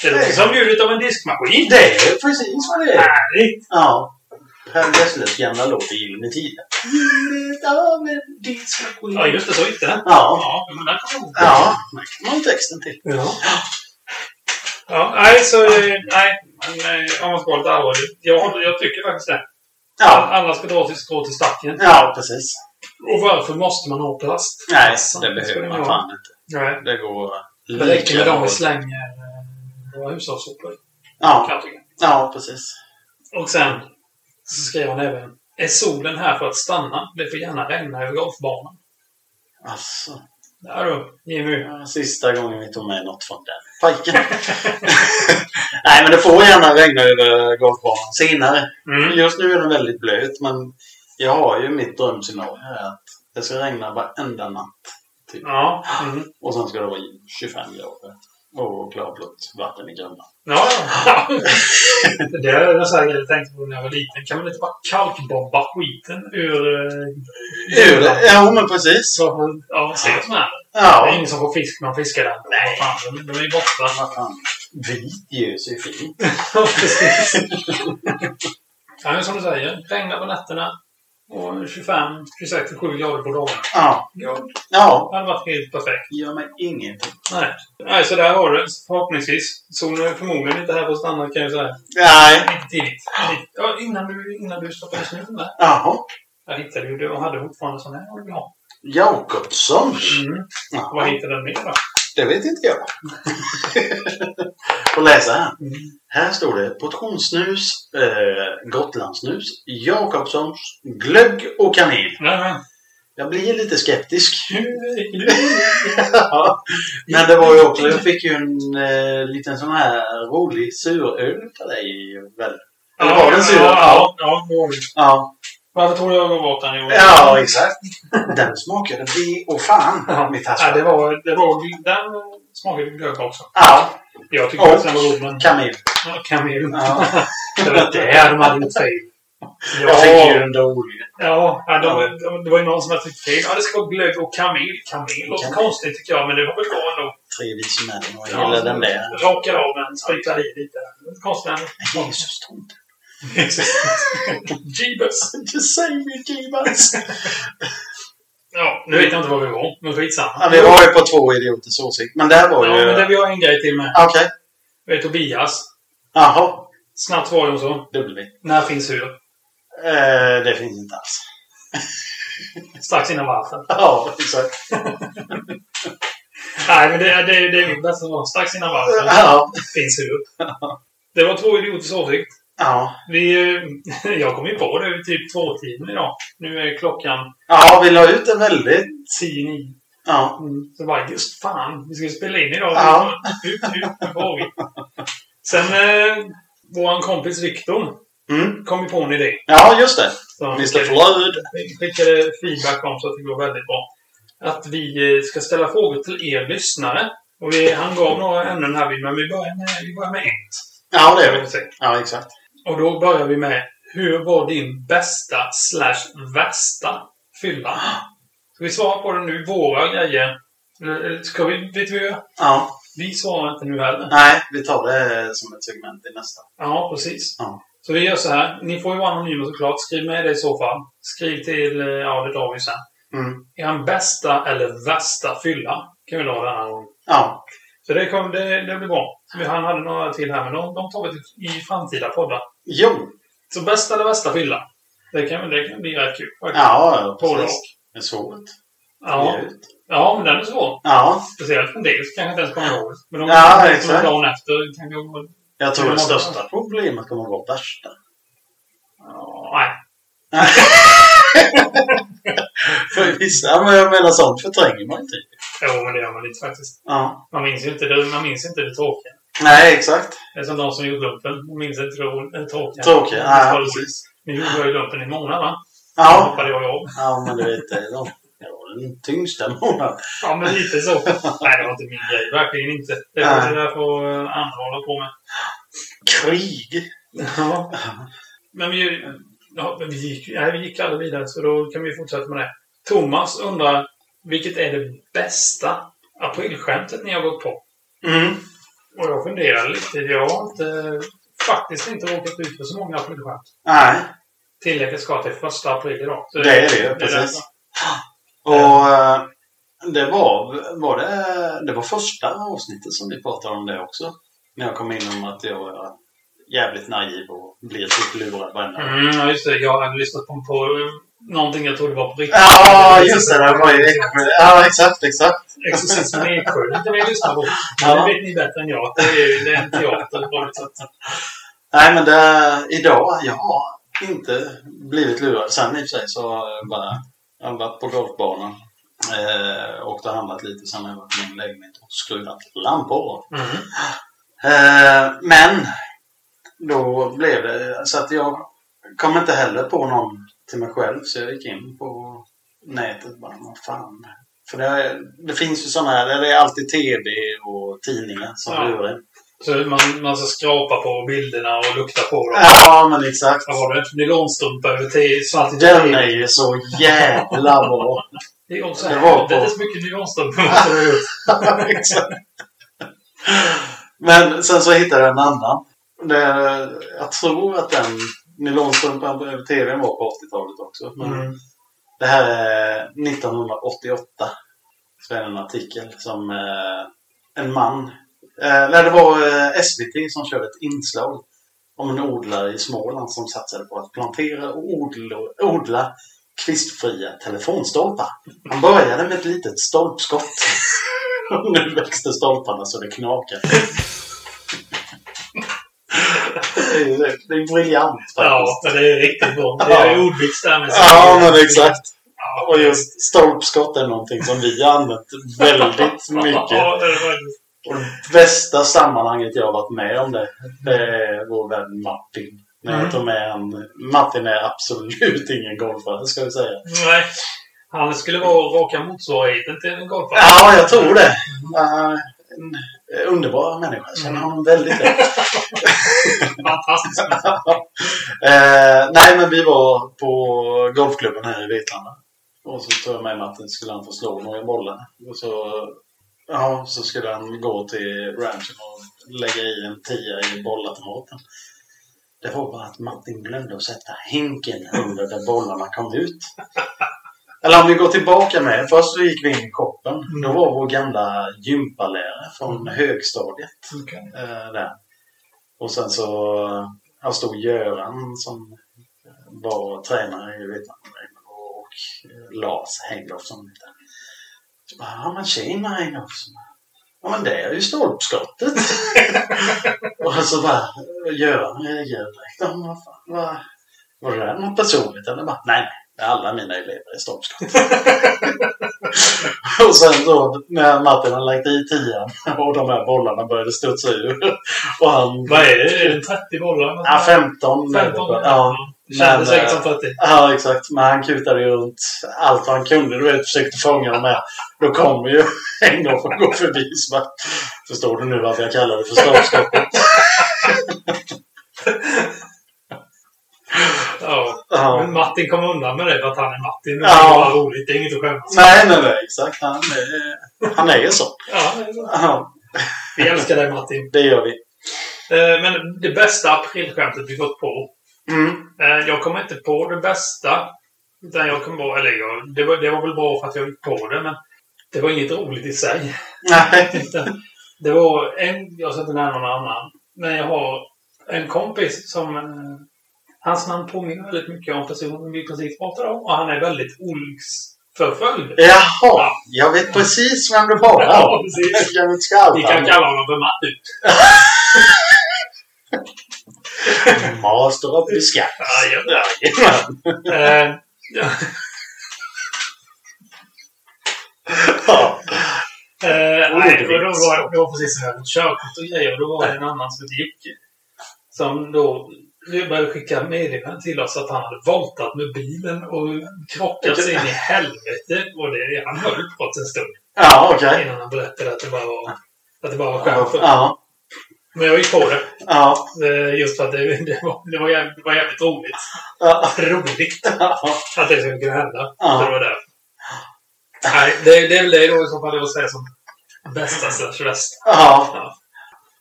Speaker 1: Det låter som ljudet av en diskmaskin.
Speaker 2: det är precis vad det är.
Speaker 1: Härligt!
Speaker 2: Ja. Per Gessles gamla låt i Gyllene Tider. Ljudet av en diskmaskin.
Speaker 1: Ja, just det. Så gick det.
Speaker 2: Ja.
Speaker 1: Ja, men den kommer ihåg.
Speaker 2: Ja, där kan man ju texten till.
Speaker 1: Ja. Ja, nej, så... eh, Nej, men eh, om man ska vara lite allvarlig. Jag, håller- jag tycker faktiskt det.
Speaker 2: Ja,
Speaker 1: Alla ska dra sitt strå till stacken.
Speaker 2: ja precis.
Speaker 1: Och varför måste man ha plast?
Speaker 2: Nej,
Speaker 1: Sant,
Speaker 2: det
Speaker 1: skulle
Speaker 2: behöver man
Speaker 1: jag
Speaker 2: fan inte.
Speaker 1: Nej.
Speaker 2: Det går
Speaker 1: Det räcker med dem vi
Speaker 2: bra.
Speaker 1: slänger eh, våra hushållssopor i, kan
Speaker 2: Ja,
Speaker 1: jag tycka.
Speaker 2: ja, precis.
Speaker 1: Och sen så skrev han även Är solen här för att stanna? Det får gärna regna över golfbanan.
Speaker 2: Alltså,
Speaker 1: Där du, Jimmy.
Speaker 2: sista gången vi tog med något från den pajken. Nej, men det får gärna regna över golfbanan senare.
Speaker 1: Mm.
Speaker 2: Just nu är den väldigt blöt, men jag har ju mitt drömscenario här att det ska regna varenda natt.
Speaker 1: Ja. Mm.
Speaker 2: Och sen ska det vara 25 grader. Och klarblått vatten i grunden.
Speaker 1: Ja, ja. det är en sån här grej jag tänkte på när jag var liten. Kan man inte bara kalkbomba skiten ur... eh,
Speaker 2: Ja, men precis.
Speaker 1: Så, man- ja, se vad som händer. Det är
Speaker 2: Ja.
Speaker 1: ingen som får fisk när man fiskar den. Nej. Fan, de, de är ju borta.
Speaker 2: Vad fan. Vit ljus är fint.
Speaker 1: Ja, precis. ja, men som du säger. Regnar på nätterna. Och 25, 26, 27 grader på dagarna.
Speaker 2: Ja.
Speaker 1: Gud,
Speaker 2: Ja.
Speaker 1: Det hade varit helt perfekt.
Speaker 2: Gör mig ingenting.
Speaker 1: Nej. Nej, så där har du det. Förhoppningsvis. Solen är förmodligen inte här på standard kan jag säga.
Speaker 2: Nej.
Speaker 1: Lite tidigt. Ja, innan du, innan du stoppade snuten där.
Speaker 2: Jaha.
Speaker 1: Jag hittade ju det och hade fortfarande sån här original.
Speaker 2: Jakobsson.
Speaker 1: Mm.
Speaker 2: Jaha.
Speaker 1: Vad hittade den mer då?
Speaker 2: Det vet inte jag. Och läsa här. Här står det portionssnus, eh, Gotlandssnus, Jakobssons, glögg och kanel.
Speaker 1: Ja,
Speaker 2: Jag blir lite skeptisk.
Speaker 1: ja.
Speaker 2: Ja. Men det var ju också, jag fick ju en eh, liten sån här rolig suröl till dig väl? Eller var den sur?
Speaker 1: Ja, ja, ja.
Speaker 2: Ja,
Speaker 1: Varför tog jag över båten i år?
Speaker 2: ja exakt. Den smakade bi och fan, mitt
Speaker 1: Ja,
Speaker 2: hassel.
Speaker 1: det var, det var, den smakade glögg också.
Speaker 2: Ja,
Speaker 1: Jag tycker att den var god, men
Speaker 2: och kamel.
Speaker 1: Ja, kamel.
Speaker 2: Ja.
Speaker 1: Det var där de hade gjort fel.
Speaker 2: Jag fick ju en dålig.
Speaker 1: Ja, ja, de, de, det var ju någon som hade tyckt fel. Ja, det ska vara glögg och kamel. Kamel låter
Speaker 2: Kamel.
Speaker 1: konstigt tycker jag, men det var väl bra ändå.
Speaker 2: Tre vise män och
Speaker 1: Ja,
Speaker 2: hela den där.
Speaker 1: Rakar av den, spritar i lite. Konstnären.
Speaker 2: Jesus tomte.
Speaker 1: Jeebus.
Speaker 2: Just say me, Gibbons.
Speaker 1: Ja, nu vet jag inte var vi var, men skitsamma.
Speaker 2: Ja, vi var ju på två idioters åsikt, men där var
Speaker 1: Ja,
Speaker 2: ju...
Speaker 1: men det vi har en grej till med.
Speaker 2: Okej.
Speaker 1: Det är Tobias.
Speaker 2: Jaha.
Speaker 1: Snabbt var det så.
Speaker 2: Dubbel vi.
Speaker 1: När finns hur?
Speaker 2: Eh, det finns inte alls.
Speaker 1: Strax innan varför.
Speaker 2: Ja, exakt.
Speaker 1: Nej, men det, det, det är mitt bästa svar. Strax innan varför.
Speaker 2: Ja.
Speaker 1: Finns hur? Det var två idioters åsikt.
Speaker 2: Ja.
Speaker 1: Vi, eh, jag kom ju på det typ två tiden idag. Nu är klockan
Speaker 2: ja, vi la ut en väldigt...
Speaker 1: 10.09.
Speaker 2: Ja.
Speaker 1: Mm. Så bara, just fan, vi ska ju spela in idag.
Speaker 2: Ja.
Speaker 1: Ut, ut, nu får vi. Sen, eh, vår kompis Viktor
Speaker 2: Mm.
Speaker 1: kom ju på en idé.
Speaker 2: Ja, just det.
Speaker 1: Så han
Speaker 2: Mr
Speaker 1: skickade-
Speaker 2: Flöd.
Speaker 1: Vi skickade eh, feedback om så att det går väldigt bra. Att vi eh, ska ställa frågor till er lyssnare. Och vi, han gav några ämnen här, men vi börjar med, vi börjar med ett.
Speaker 2: Ja, det
Speaker 1: kan
Speaker 2: är
Speaker 1: man
Speaker 2: vi.
Speaker 1: säga.
Speaker 2: Ja, exakt.
Speaker 1: Och då börjar vi med Hur var din bästa slash värsta fylla? Ska vi svara på den nu? Våra grejer? Eller- eller Ska vi, vet vi hur?
Speaker 2: Ja.
Speaker 1: Vi svarar inte nu heller.
Speaker 2: Nej, vi tar det som ett segment i nästa.
Speaker 1: Ja, precis.
Speaker 2: Ja.
Speaker 1: Så vi gör så här. Ni får ju vara anonyma såklart. Skriv med det i så fall. Skriv till... eh, Ja, det tar vi sen.
Speaker 2: Mm.
Speaker 1: Er bästa eller värsta fylla kan vi dra den här gången.
Speaker 2: Ja.
Speaker 1: Så det, kom, det, det blir bra. Vi- Han hade några till här, men de, de tar vi till- i framtida poddar.
Speaker 2: Jo.
Speaker 1: Så bästa eller värsta fylla? Det kan, det kan bli rätt kul. faktiskt.
Speaker 2: Ja,
Speaker 1: Både och.
Speaker 2: precis. Det är svårt.
Speaker 1: Ja.
Speaker 2: Det är ut.
Speaker 1: ja, men den är svår.
Speaker 2: Ja,
Speaker 1: Speciellt en del kanske inte ens kommer ihåg. Men de
Speaker 2: Ja,
Speaker 1: ja,
Speaker 2: exakt.
Speaker 1: dagen efter kan gå...
Speaker 2: jag tror
Speaker 1: Det är
Speaker 2: det
Speaker 1: många.
Speaker 2: största problemet kommer att vara värsta.
Speaker 1: Ja, nej.
Speaker 2: För vissa, ja, men jag menar sånt förtränger man inte.
Speaker 1: Jo, men det gör man lite faktiskt.
Speaker 2: Ja.
Speaker 1: Man minns ju inte det, man minns inte det tråkiga.
Speaker 2: Nej, exakt.
Speaker 1: Det är som de som gjorde lumpen. De minns inte det ro- det tråkiga.
Speaker 2: Tråkiga.
Speaker 1: Ja,
Speaker 2: Ja,
Speaker 1: precis.
Speaker 2: precis.
Speaker 1: Nu gjorde jag ju lumpen i månad, va? Då
Speaker 2: Ja.
Speaker 1: hoppade jag av.
Speaker 2: ja, men du vet, det är de. Det var den tyngsta månaden.
Speaker 1: Ja, men lite så. Nej, det var inte min grej. Verkligen inte. Det var
Speaker 2: Nej.
Speaker 1: det där får eh, andra hålla på med.
Speaker 2: Krig.
Speaker 1: Ja. Men vi, ja, men vi, gick, nej, vi gick aldrig vidare, så då kan vi fortsätta med det. Thomas undrar, vilket är det bästa aprilskämtet ni har gått på?
Speaker 2: Mm.
Speaker 1: Och jag funderar lite. Jag har inte, faktiskt inte råkat ut för så många aprilskämt.
Speaker 2: Nej,
Speaker 1: Tillägget ska till första april idag. Så
Speaker 2: det är det ju.
Speaker 1: det
Speaker 2: Precis. Och eh, det var, var det, det var första avsnittet som vi pratade om det också. När jag kom in om att jag var jävligt naiv och blir typ lurad varenda gång.
Speaker 1: Mm, ja, just det. Jag hade lyssnat på, på eh, någonting jag trodde var på riktigt.
Speaker 2: Ja, just det. Det var ju Eksjö. Ja, exakt, exakt.
Speaker 1: Exorcismen i Eksjö. E Det kan vi lyssna på.
Speaker 2: Ja.
Speaker 1: Det vet ni bättre än jag. Det är, det är en teater. på något sätt.
Speaker 2: Nej, men det, idag, jag har inte blivit lurad. Sen i och för sig så har jag bara jag har varit på golfbanan. Eh, och det har handlat lite. Sen har jag varit i min lägenhet och skruvat lampor.
Speaker 1: Mm.
Speaker 2: Eh, men då blev det så att jag kom inte heller på någon till mig själv. Så jag gick in på nätet bara, vad fan. För det, det finns ju sådana här, det är alltid TV och tidningar som
Speaker 1: Ja.
Speaker 2: lurar en.
Speaker 1: Så man, man ska skrapa på bilderna och lukta på dem.
Speaker 2: Ja, men exakt.
Speaker 1: Vad var det? Nylonstrumpa över te, svart i
Speaker 2: Den är ju så jävla bra.
Speaker 1: Det är också
Speaker 2: Det var
Speaker 1: det är
Speaker 2: på.
Speaker 1: så mycket nylonstrumpa man har gjort.
Speaker 2: Exakt. men sen så hittade jag en annan. Det, jag tror att den nylonstrumpan på tvn var på 80-talet också. Men
Speaker 1: Mm.
Speaker 2: Det här är 1988. Så är det en artikel som eh, en man... Eh, nej, det var eh, SVT som körde ett inslag om en odlare i Småland som satsade på att plantera och odla, odla kvistfria telefonstolpar. Han började med ett litet stolpskott. Och nu växte stolparna så det knakade. Det är, det är briljant faktiskt.
Speaker 1: Ja, men det är riktigt bra. Det är ordvits där med.
Speaker 2: Ja, men exakt. Och just stolpskott är någonting som vi har använt väldigt mycket.
Speaker 1: Ja, det var
Speaker 2: Och det bästa sammanhanget jag har varit med om det, det är vår vän Martin. När jag
Speaker 1: Mm.
Speaker 2: tog med en, Martin är absolut ingen golfare, ska vi säga.
Speaker 1: Nej. Han skulle vara raka motsvarigheten till en golfare.
Speaker 2: Ja, jag tror det. Eh, En underbar människa. Jag känner honom väldigt väl.
Speaker 1: Fantastiskt.
Speaker 2: Eh, nej, men vi var på golfklubben här i Vetlanda. Och så tog jag med mig att skulle han få slå några bollar. Och så, ja, så skulle han gå till ranchen och lägga i en tia i bollautomaten. Det var bara att Martin glömde att sätta hinken under där bollarna kom ut. Eller om vi går tillbaka med. Först så gick vi in i koppen. Då var vår gamla gympalärare från högstadiet eh, där. Och sen så han stod Göran som var tränare i Vietnam och eh, Lars Hengloff som hette. Så bara, ja men tjena Hengloff. Så bara, Ja men det är ju stolpskottet. och så bara Göran reagerade direkt. Ja, men vad fan, vad, var det där något personligt eller? Bara, nej, nej. Alla mina elever är stolpskott. och sen då när Martin hade lagt i tian och de här bollarna började studsa ur. Och han
Speaker 1: Vad är det? Är det 30 bollar?
Speaker 2: Ja, 15.
Speaker 1: 15 bollar.
Speaker 2: Ja,
Speaker 1: Det kändes
Speaker 2: Men,
Speaker 1: säkert
Speaker 2: eh,
Speaker 1: som 40.
Speaker 2: ja, exakt. Men han kutade ju runt allt vad han kunde. Du vet, försökte fånga dem här. Då kommer ju en gång och går förbi. Så bara, Förstår du nu varför jag kallar det för stolpskott?
Speaker 1: Ja.
Speaker 2: Ja.
Speaker 1: Men Martin kom undan med det för att han är Martin. Det
Speaker 2: Ja.
Speaker 1: är bara roligt. Det är inget att skämmas
Speaker 2: Nej, nej, nej. Exakt. Han är, han är ju så.
Speaker 1: Ja, det är så.
Speaker 2: Ja,
Speaker 1: Vi älskar dig Martin.
Speaker 2: det gör vi.
Speaker 1: Eh, Men det bästa aprilskämtet vi gått på
Speaker 2: Mm.
Speaker 1: Eh, Jag kommer inte på det bästa. Utan jag kom på, eller jag, det, var, det var väl bra för att jag gick på det, men det var inget roligt i sig.
Speaker 2: Nej.
Speaker 1: Utan det var en, jag ska inte nämna någon annan, men jag har en kompis som... Eh, hans namn påminner väldigt mycket om personen vi precis pratade om och han är väldigt olycksförföljd.
Speaker 2: Jaha, jag vet precis vem du
Speaker 1: Ja,
Speaker 2: var.
Speaker 1: precis.
Speaker 2: Jag vet skallen.
Speaker 1: Vi kan kalla honom för Matti.
Speaker 2: Master of Biscay.
Speaker 1: Jajamän. Eh, ja,
Speaker 2: Ja.
Speaker 1: Eh,
Speaker 2: Oh,
Speaker 1: nej,
Speaker 2: det
Speaker 1: och då
Speaker 2: vet.
Speaker 1: var det var precis när jag hade körkort och grejer. Och då var det en annan som hette Jocke. Som då började skicka meddelanden till oss att han hade voltat med bilen och krockat sig in i helvete. Och det, han höll på en stund
Speaker 2: Ja, okej.
Speaker 1: innan han berättade att det bara var, att det bara var skämt.
Speaker 2: Ja.
Speaker 1: Men jag gick på det.
Speaker 2: Ja.
Speaker 1: eh, Just för att det, det, var, det, var, jävligt, det var jävligt roligt.
Speaker 2: Ja.
Speaker 1: Roligt
Speaker 2: Ja.
Speaker 1: att det skulle kunna hända.
Speaker 2: Ja.
Speaker 1: Så det var där. Nej, det, det är väl det då i så fall jag säger som bästa slash bästa.
Speaker 2: Ja.
Speaker 1: Ja.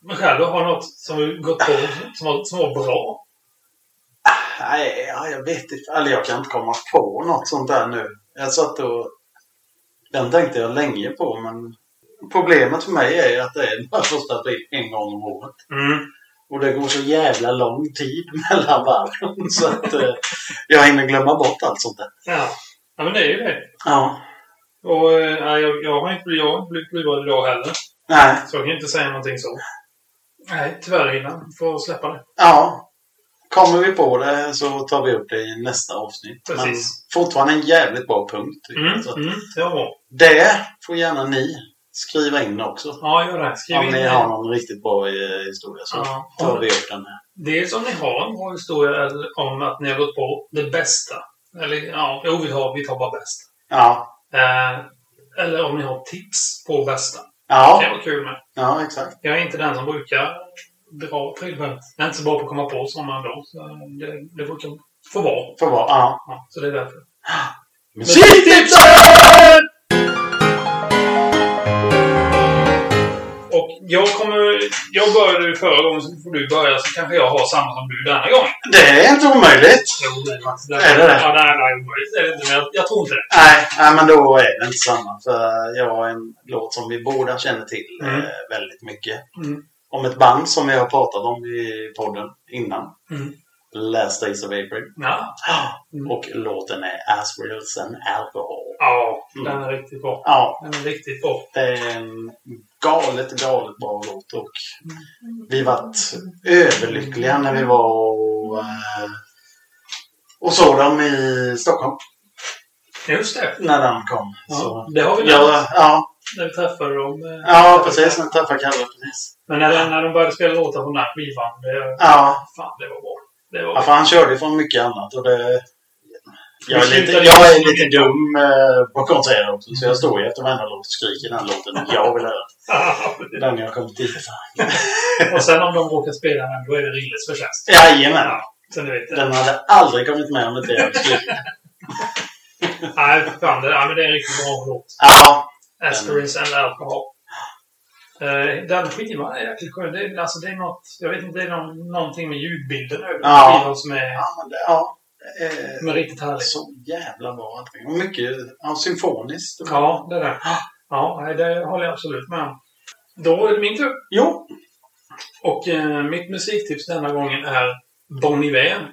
Speaker 1: Men själv då, har du något som du gått på som var, som var bra?
Speaker 2: Nej, ja, jag vet inte. Eller jag kan inte komma på något sånt där nu. Jag satt och... Den tänkte jag länge på, men problemet för mig är ju att det är bara första april en gång om året. Och det går så jävla lång tid mellan varven så att eh, jag hinner glömma bort allt sånt där.
Speaker 1: Ja. ja, men det är ju det.
Speaker 2: Ja.
Speaker 1: Och eh, ja, jag, jag har inte blivit- jag har inte blivit luvad idag heller.
Speaker 2: Nej.
Speaker 1: Så jag kan ju inte säga någonting så. Nej, tyvärr innan. Får släppa det.
Speaker 2: Ja. Kommer vi på det så tar vi upp det i nästa avsnitt. Men
Speaker 1: Precis.
Speaker 2: fortfarande en jävligt bra punkt. tycker jag.
Speaker 1: Mm,
Speaker 2: Så att
Speaker 1: mm, det var bra.
Speaker 2: Det får gärna ni skriva in också.
Speaker 1: Ja, gör det. Skriv
Speaker 2: Om
Speaker 1: in
Speaker 2: ni
Speaker 1: det.
Speaker 2: har någon riktigt bra eh, historia så
Speaker 1: Ja.
Speaker 2: tar vi upp den här.
Speaker 1: Dels om ni har en bra historia eller om att ni har gått på det bästa. Eller ja, jo, vi, har, vi tar bara bäst.
Speaker 2: Ja,
Speaker 1: Eh, eller om ni har tips på bästa. Det
Speaker 2: ja,
Speaker 1: var kul med.
Speaker 2: ja exakt.
Speaker 1: Jag är inte den som brukar dra prylskämt. Jag är inte så bra på att komma på sådana ändå. Så det, det brukar få vara.
Speaker 2: Får vara. Ja.
Speaker 1: Ja, så det är därför.
Speaker 2: Musiktipsen!
Speaker 1: Och jag kommer... Jag började ju förra gången, så får du börja. Så kanske jag har samma som du denna gång.
Speaker 2: Det är inte omöjligt.
Speaker 1: Jo, det är faktiskt
Speaker 2: Är det det?
Speaker 1: Ja, nej, nej, omöjligt. Det är det inte, men jag, jag tror inte det.
Speaker 2: Nej, nej, men då är det inte samma. För jag har en låt som vi båda känner till
Speaker 1: Mm.
Speaker 2: eh, väldigt mycket.
Speaker 1: Mm.
Speaker 2: Om ett band som vi har pratat om i podden innan.
Speaker 1: Mm.
Speaker 2: Last Days of April.
Speaker 1: Ja.
Speaker 2: Och låten är As Wheels and Alcohol.
Speaker 1: Ja,
Speaker 2: Mm.
Speaker 1: den är riktigt bra.
Speaker 2: Ja,
Speaker 1: Den är riktigt bra.
Speaker 2: det är en Ehm, galet, galet bra låt och vi vart överlyckliga när vi var och, eh, och såg dem i Stockholm
Speaker 1: Just det.
Speaker 2: när den kom.
Speaker 1: Ja,
Speaker 2: Så,
Speaker 1: det har vi
Speaker 2: ja,
Speaker 1: lärt
Speaker 2: ja,
Speaker 1: när vi träffade dem. eh,
Speaker 2: ja, precis. När jag träffade Kalle. Precis.
Speaker 1: Men när, när de började spela låtar från den här skivan, det, ah,
Speaker 2: Ja,
Speaker 1: fan, det var bra. Det
Speaker 2: Ja,
Speaker 1: var,
Speaker 2: för han körde från mycket annat. Och det... jag, är
Speaker 1: Vi
Speaker 2: lite,
Speaker 1: slutade
Speaker 2: jag är
Speaker 1: ju-
Speaker 2: lite dum eh, på konserter också, så jag står ju efter varenda låt och skriker den här låten jag vill höra. Det är den jag kommit dit för.
Speaker 1: och sen om de råkar spela den, då är det Rilles förtjänst.
Speaker 2: Jajamän!
Speaker 1: Så du vet, det.
Speaker 2: Den hade aldrig kommit med om inte jag hade skrivit.
Speaker 1: Nej, för fan, det, ja, men det är en riktigt bra låt.
Speaker 2: Ja,
Speaker 1: Aspirins and Alcohol. Eh, Den skivan är jäkligt skön. Det är, alltså, det är något, jag vet inte, det är någon, någonting med ljudbilden över
Speaker 2: Ja.
Speaker 1: skivan som är,
Speaker 2: ja, men det, ja. Eh,
Speaker 1: som är riktigt härlig.
Speaker 2: så jävla bra allting. Och mycket ja, symfoniskt.
Speaker 1: Ja, det där. Ja, nej, det håller jag absolut med om. Då är det min tur.
Speaker 2: Jo!
Speaker 1: Och eh, mitt musiktips denna gången är Bon Iver.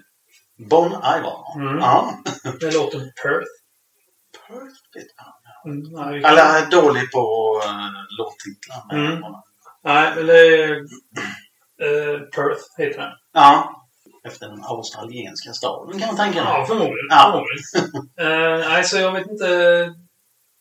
Speaker 2: Bon Iver.
Speaker 1: Mm.
Speaker 2: Ja.
Speaker 1: Med låten Perth.
Speaker 2: Perfect.
Speaker 1: Mm, nej, vi kan-
Speaker 2: Eller jag är dålig på uh, låttitlar. men-
Speaker 1: Mm. Nej, eller... eh, Perth heter den.
Speaker 2: Ja. Efter den australienska staden kan man tänka mig.
Speaker 1: Ja, förmodligen.
Speaker 2: Ja.
Speaker 1: förmodligen. Eh, nej, så jag vet inte...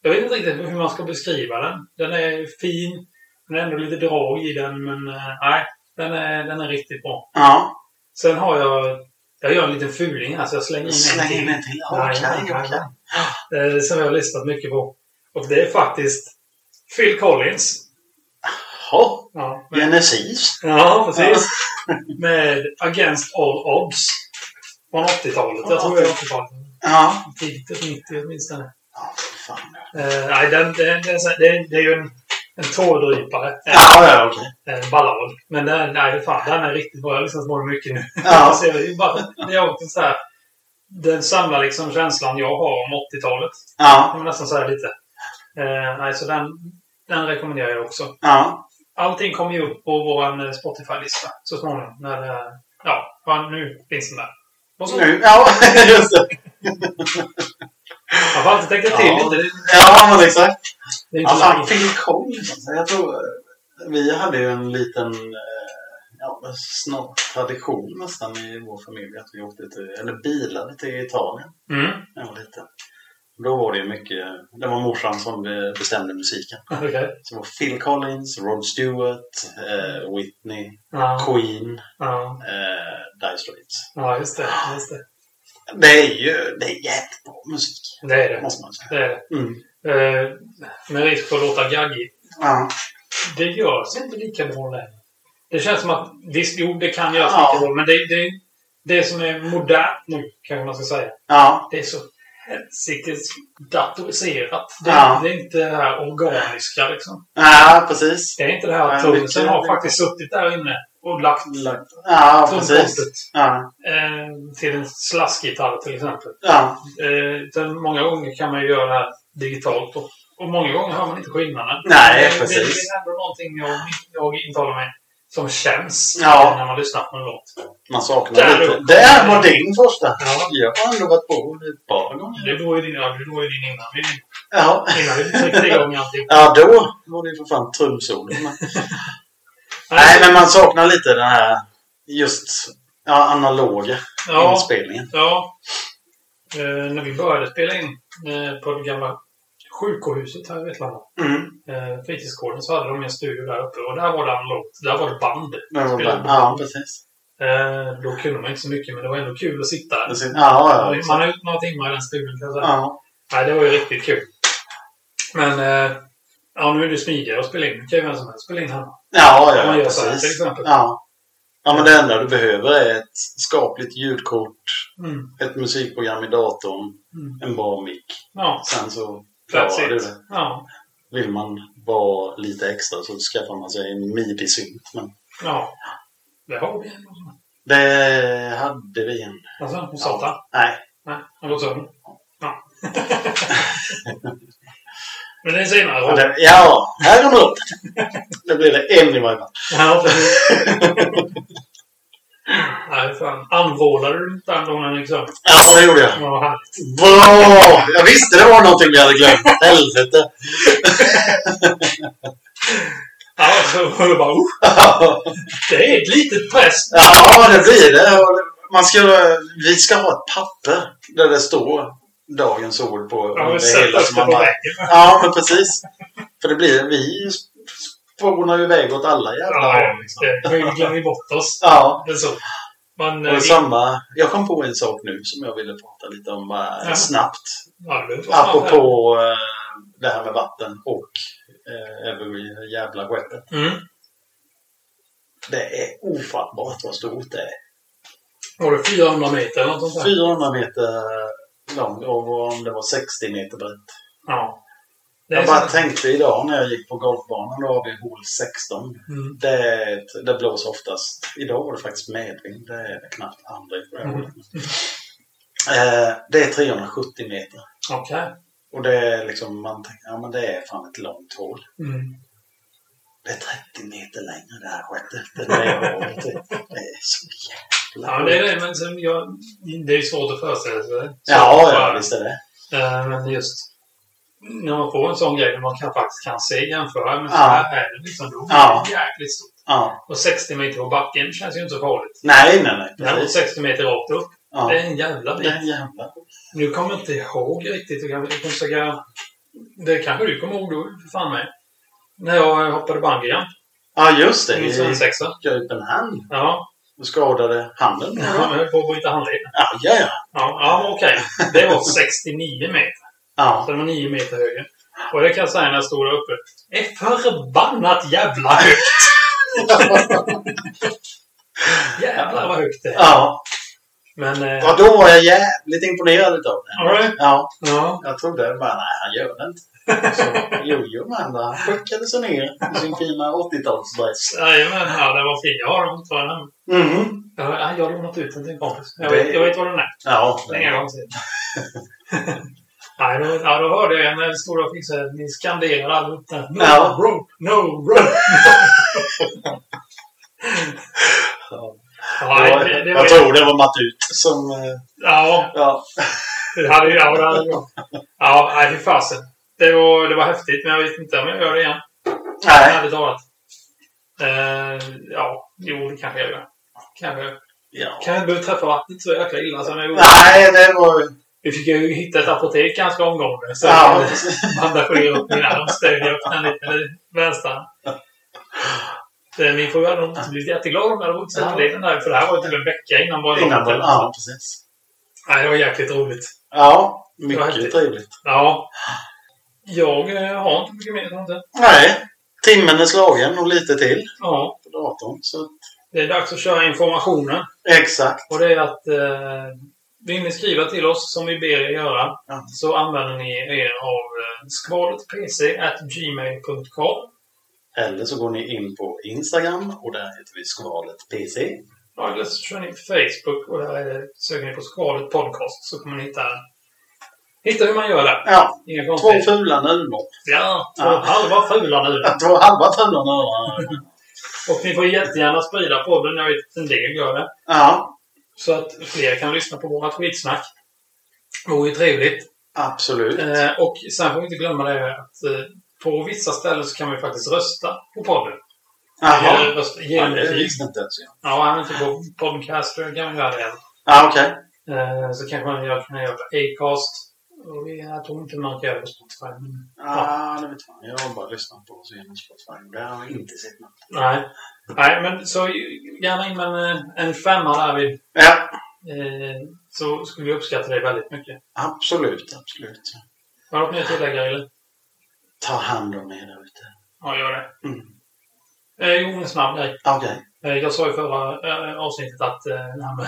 Speaker 1: Jag vet inte riktigt hur man ska beskriva den. Den är fin. Den är ändå lite drag i den, men eh, nej. Den är, den är riktigt bra.
Speaker 2: Ja.
Speaker 1: Sen har jag... Jag gör en liten fuling här, så jag slänger in en
Speaker 2: Släng
Speaker 1: till.
Speaker 2: in en till.
Speaker 1: Nej,
Speaker 2: Okej,
Speaker 1: nej, nej.
Speaker 2: okej.
Speaker 1: eh, som jag har lyssnat mycket på. Och det är faktiskt Phil Collins.
Speaker 2: Jaha,
Speaker 1: Ja, men-
Speaker 2: Genesis.
Speaker 1: ja precis. Med Against All Odds. Från 80-talet. Jag tror det är 80-talet.
Speaker 2: Ja.
Speaker 1: Tidigt 90 åtminstone.
Speaker 2: Ja, fy fan.
Speaker 1: Eh, nej, den, den, den, den, det är ju en, en Eh, tårdrypare.
Speaker 2: Ja, ja, okej.
Speaker 1: En, en Eh, ballad. Men den, nej, fan, den är riktigt bra. Jag har lyssnat på den mycket nu.
Speaker 2: Ja.
Speaker 1: Så jag är ju bara, det är också så här, den samlar liksom känslan jag har om 80-talet. Jag
Speaker 2: Ja,
Speaker 1: kan nästan säga lite. Eh, nej, så den, den rekommenderar jag också.
Speaker 2: ja.
Speaker 1: Allting kommer ju upp på vår eh, Spotify-lista så småningom. När, eh, ja, fan, nu finns den där. Och så,
Speaker 2: Nu, ja, just det.
Speaker 1: jag får alltid tänka till
Speaker 2: Ja. Alltså,
Speaker 1: lite.
Speaker 2: Ja, men exakt.
Speaker 1: Det är inte
Speaker 2: Ja,
Speaker 1: så
Speaker 2: fan,
Speaker 1: länge.
Speaker 2: Phil Collins. alltså, Jag tror... eh, Vi hade ju en liten... eh, Ja, men snart tradition nästan i vår familj att vi åkte till, eller bilade till Italien
Speaker 1: Mm,
Speaker 2: när jag var liten. Då var det ju mycket, det var morsan som eh, bestämde musiken.
Speaker 1: okej.
Speaker 2: Så det var Phil Collins, Rod Stewart, eh, Whitney,
Speaker 1: Ja,
Speaker 2: Queen,
Speaker 1: ja,
Speaker 2: eh, Dire Straits.
Speaker 1: ja, just det. Just det.
Speaker 2: Det är ju det är jävligt bra musik.
Speaker 1: det är
Speaker 2: Det
Speaker 1: det.
Speaker 2: måste man säga.
Speaker 1: det, är det.
Speaker 2: Mm.
Speaker 1: Eh, med risk för att låta gaggig.
Speaker 2: Ja.
Speaker 1: Det görs inte lika bra längre. Det känns som att, visst, jo, det kan göras
Speaker 2: Ja.
Speaker 1: lika bra, men det, det, det som är modernt nu, kanske man ska säga,
Speaker 2: Ja.
Speaker 1: det är så helsikes datoriserat. Det,
Speaker 2: Ja.
Speaker 1: det är inte det här organiska liksom.
Speaker 2: ja, precis.
Speaker 1: Det är inte det
Speaker 2: Ja,
Speaker 1: här
Speaker 2: men
Speaker 1: att trummisen
Speaker 2: mycket-
Speaker 1: har faktiskt suttit där inne och lagt
Speaker 2: Ja, precis.
Speaker 1: trumpostet
Speaker 2: Ja.
Speaker 1: eh, till en slaskgitarr till exempel.
Speaker 2: Ja.
Speaker 1: Eh, utan många gånger kan man ju göra det här digitalt och, och många gånger hör man inte skillnaden.
Speaker 2: Nej,
Speaker 1: det, Det,
Speaker 2: precis.
Speaker 1: det är ändå någonting jag, jag intalar mig som känns
Speaker 2: Ja.
Speaker 1: när man lyssnar på en låt.
Speaker 2: Man saknar
Speaker 1: Där
Speaker 2: lite.
Speaker 1: uppe.
Speaker 2: Där var din första.
Speaker 1: Ja.
Speaker 2: Jag har ändå varit på ett par gånger.
Speaker 1: Det var ju din, ja, det var ju din innan vi,
Speaker 2: Ja.
Speaker 1: innan vi tryckte igång alltihop.
Speaker 2: Ja, då var det ju för fan trumsolon. Nej, men man saknar lite den här just ja, analoga
Speaker 1: ja,
Speaker 2: inspelningen.
Speaker 1: Ja. Eh, när vi började spela in eh, på det gamla sjukhuset här i Vetlanda,
Speaker 2: Mm.
Speaker 1: eh, fritidsgården, så hade de en studio där uppe. Och där var det analogt. Där var det band.
Speaker 2: Den var
Speaker 1: Spelade
Speaker 2: bra.
Speaker 1: på
Speaker 2: Ja,
Speaker 1: band.
Speaker 2: precis.
Speaker 1: Eh, då kunde man inte så mycket, men det var ändå kul att sitta där.
Speaker 2: Ja, ja, ja.
Speaker 1: Man har gjort några timmar i den studion kan jag säga.
Speaker 2: ja.
Speaker 1: Nej, det var ju riktigt kul. Men eh, ja, nu är det smidigare att spela in. Nu kan ju vem som helst spela in hemma.
Speaker 2: Ja,
Speaker 1: Om
Speaker 2: ja,
Speaker 1: man gör så här, till
Speaker 2: precis.
Speaker 1: exempel.
Speaker 2: Ja. ja, men det enda du behöver är ett skapligt ljudkort,
Speaker 1: Mm.
Speaker 2: ett musikprogram i datorn,
Speaker 1: Mm.
Speaker 2: en bra mick.
Speaker 1: Ja,
Speaker 2: Sen så
Speaker 1: that's
Speaker 2: klarar du
Speaker 1: it.
Speaker 2: det.
Speaker 1: Ja,
Speaker 2: Vill man vara lite extra så skaffar man sig en midi-synt. Men
Speaker 1: ja. Det har vi ändå.
Speaker 2: det hade vi en.
Speaker 1: Alltså, hon sa det.
Speaker 2: Nej.
Speaker 1: Nej, han låg sömn. Ja. Men det är senare.
Speaker 2: Ja,
Speaker 1: Rob.
Speaker 2: det- Ja, här kommer upp. Det blir det en i varje fall.
Speaker 1: Ja, precis. Nej, fan. Anvårdade du inte andra gången liksom?
Speaker 2: Ja, det gjorde jag.
Speaker 1: Vad härligt.
Speaker 2: Bra! Jag visste det var någonting jag hade glömt. Helvete.
Speaker 1: Ja, så var det bara, "Oh, det är ett litet press.
Speaker 2: Ja, det blir det. Och Man skulle, vi ska ha ett papper där det står dagens ord på.
Speaker 1: Ja, men
Speaker 2: det hela
Speaker 1: sätta
Speaker 2: som man
Speaker 1: på
Speaker 2: bara-
Speaker 1: väggen.
Speaker 2: Ja, men precis. För det blir, vi spånar ju iväg åt alla jävla
Speaker 1: Ja,
Speaker 2: håll. liksom.
Speaker 1: det- vi glömmer bort oss.
Speaker 2: Ja,
Speaker 1: Det är så. Man,
Speaker 2: och
Speaker 1: eh,
Speaker 2: samma. Jag kom på en sak nu som jag ville prata lite om bara
Speaker 1: Ja.
Speaker 2: snabbt.
Speaker 1: ja, det är så.
Speaker 2: Apropå eh, det här med vatten och eh, every jävla weapon.
Speaker 1: Mm.
Speaker 2: Det är ofattbart vad stort det är.
Speaker 1: Var det 400 meter eller något sånt där?
Speaker 2: 400 meter lång och om det var 60 meter brett.
Speaker 1: Ja. Det är
Speaker 2: Jag bara
Speaker 1: så.
Speaker 2: tänkte idag när jag gick på golfbanan, då har vi hål 16.
Speaker 1: Mm.
Speaker 2: Det, är ett- det blåser oftast. Idag var det faktiskt medvind. Det är knappt andning på det här
Speaker 1: Mm.
Speaker 2: hålet. Eh, Det är 370 meter.
Speaker 1: Okej.
Speaker 2: Och det är liksom, man tänker, ja men det är fan ett långt hål.
Speaker 1: Mm.
Speaker 2: Det är 30 meter längre det här skeppet. Det är hålet. Det är så jävla...
Speaker 1: Ja, det är det. Men sen, jag, det är ju svårt att föreställa sig. det. Så,
Speaker 2: Ja, ja, visst är det.
Speaker 1: Eh, Men just när man får en sån grej där man kan, faktiskt kan se jämföra. Men så
Speaker 2: Ja.
Speaker 1: här är det liksom. Då
Speaker 2: Ja.
Speaker 1: är det jäkligt stort.
Speaker 2: Ja.
Speaker 1: Och 60 meter på backen känns ju inte så farligt.
Speaker 2: Nej, nej, nej.
Speaker 1: Men
Speaker 2: Precis.
Speaker 1: 60 meter rakt upp.
Speaker 2: Ja.
Speaker 1: Det är en jävla
Speaker 2: Det är
Speaker 1: bit.
Speaker 2: en jävla...
Speaker 1: Nu kommer jag inte ihåg riktigt. Jag kan, jag kan försöka, det kanske du kommer ihåg då, för fan mig. När jag hoppade bungyjump.
Speaker 2: Ja, just det.
Speaker 1: Min
Speaker 2: Vi
Speaker 1: svensexa.
Speaker 2: Köpenhamn
Speaker 1: Ja.
Speaker 2: och skadade handen.
Speaker 1: Jag höll på att bryta handleden.
Speaker 2: Ja, ja, ja.
Speaker 1: Ja, ja okej. Det var 69 meter.
Speaker 2: Ja,
Speaker 1: Så den var nio meter högre. Och det kan jag säga när jag stod där uppe. Är förbannat jävla högt! Jävlar vad högt det är.
Speaker 2: ja.
Speaker 1: Men... Eh,
Speaker 2: ja då var jag jävligt imponerad utav det.
Speaker 1: all right.
Speaker 2: Ja,
Speaker 1: Ja.
Speaker 2: jag trodde bara, nej, han gör det inte. Så, jo, jo, men han skickade sig ner i sin fina 80-talsdress.
Speaker 1: Jajamän, ja, den var fin. Jag har den fortfarande.
Speaker 2: Mhm.
Speaker 1: Jag har- Jag har lånat ut den till en kompis. Jag
Speaker 2: Det-
Speaker 1: vet, jag vet var den är.
Speaker 2: Ja,
Speaker 1: Länge gång sedan. Nej, då, ja, då hörde jag när det stod och fixade. Ni skanderade allihop där. No
Speaker 2: Ja.
Speaker 1: rope, no rope! Ja, det, det var,
Speaker 2: jag tror det var Matut som... eh,
Speaker 1: ja,
Speaker 2: Ja,
Speaker 1: Det hade ju... Ja, det hade jag. Ja, nej, fy fasen. Det var, det var häftigt, men jag vet inte om jag gör det igen.
Speaker 2: nej.
Speaker 1: Ärligt talat. Eh, ja, jo, det kanske jag gör. Kanske.
Speaker 2: Ja.
Speaker 1: Kanske behöver träffa vattnet så jäkla illa som jag gjorde.
Speaker 2: Nej, det var...
Speaker 1: Vi fick ju hitta ett apotek ganska omgående. Så
Speaker 2: Ja,
Speaker 1: jag bandagerade upp min arm, stängde upp den lite vänster. Eh, Min fru hade nog inte blivit jätteglad om jag hade vuxit
Speaker 2: Ja.
Speaker 1: handleden där. För det här var ju till en vecka innan bara
Speaker 2: innan den. Ja, precis.
Speaker 1: Nej, det var jäkligt roligt.
Speaker 2: Ja,
Speaker 1: Det var häftigt.
Speaker 2: mycket trevligt.
Speaker 1: Ja. Jag eh, har inte mycket mer, tror jag inte.
Speaker 2: Nej, timmen är slagen och lite till
Speaker 1: Ja,
Speaker 2: på datorn. Så...
Speaker 1: det är dags att köra informationen.
Speaker 2: Exakt.
Speaker 1: Och det är att eh, vill ni skriva till oss, som vi ber er göra,
Speaker 2: Ja.
Speaker 1: så använder ni er av eh, skvaletpc.gmail.com.
Speaker 2: Eller så går ni in på Instagram och där heter vi skvalet PC.
Speaker 1: Ja, Eller så kör ni på Facebook och där är det- söker ni på Skvalet Podcast så kommer ni hitta, hitta hur man gör det.
Speaker 2: Ja,
Speaker 1: Inga
Speaker 2: två
Speaker 1: konstigheter.
Speaker 2: fula nunor.
Speaker 1: Ja, två
Speaker 2: Ja.
Speaker 1: halva fula nu.
Speaker 2: Två halva fula nunor.
Speaker 1: Och ni får jättegärna sprida podden. Jag vet att en del gör det.
Speaker 2: Ja,
Speaker 1: Så att fler kan lyssna på vårat skitsnack. Det vore ju trevligt.
Speaker 2: absolut.
Speaker 1: Eh, och sen får vi inte glömma det att eh, på vissa ställen så kan vi faktiskt rösta på podden. Eller
Speaker 2: Jaha.
Speaker 1: rösta, ge
Speaker 2: Ja,
Speaker 1: en
Speaker 2: det
Speaker 1: betyg.
Speaker 2: visste inte ens jag.
Speaker 1: Ja, även typ på Podcaster kan man göra det.
Speaker 2: Ja, okej.
Speaker 1: Eh, så kanske man gör, kan göra på Acast. Och vi, jag tror inte man kan göra det på Spotify. Men,
Speaker 2: Ja, det vet fan. Jag har bara lyssnat på oss genom Spotify. Det har jag inte sett något.
Speaker 1: nej. nej, men så gärna in med en, en femma där vid.
Speaker 2: Ja,
Speaker 1: Eh, så skulle vi uppskatta det väldigt mycket.
Speaker 2: absolut, absolut.
Speaker 1: Har du något mer att tillägga, eller?
Speaker 2: Ta hand om er där ute.
Speaker 1: Ja, gör det.
Speaker 2: Mm.
Speaker 1: Eh, jo, en snabb grej.
Speaker 2: Okej.
Speaker 1: Eh, jag sa i förra eh, avsnittet att eh, det här med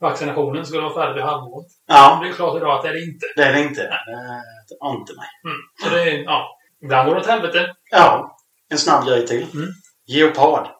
Speaker 1: vaccinationen skulle vara färdig vid halvåret.
Speaker 2: Ja,
Speaker 1: Det är klart idag att det är det inte.
Speaker 2: det är det inte. Det är inte mig.
Speaker 1: Mm. Så det är, ja. Ibland går det åt helvete.
Speaker 2: Ja, en snabb grej till.
Speaker 1: Mm.
Speaker 2: Geopard.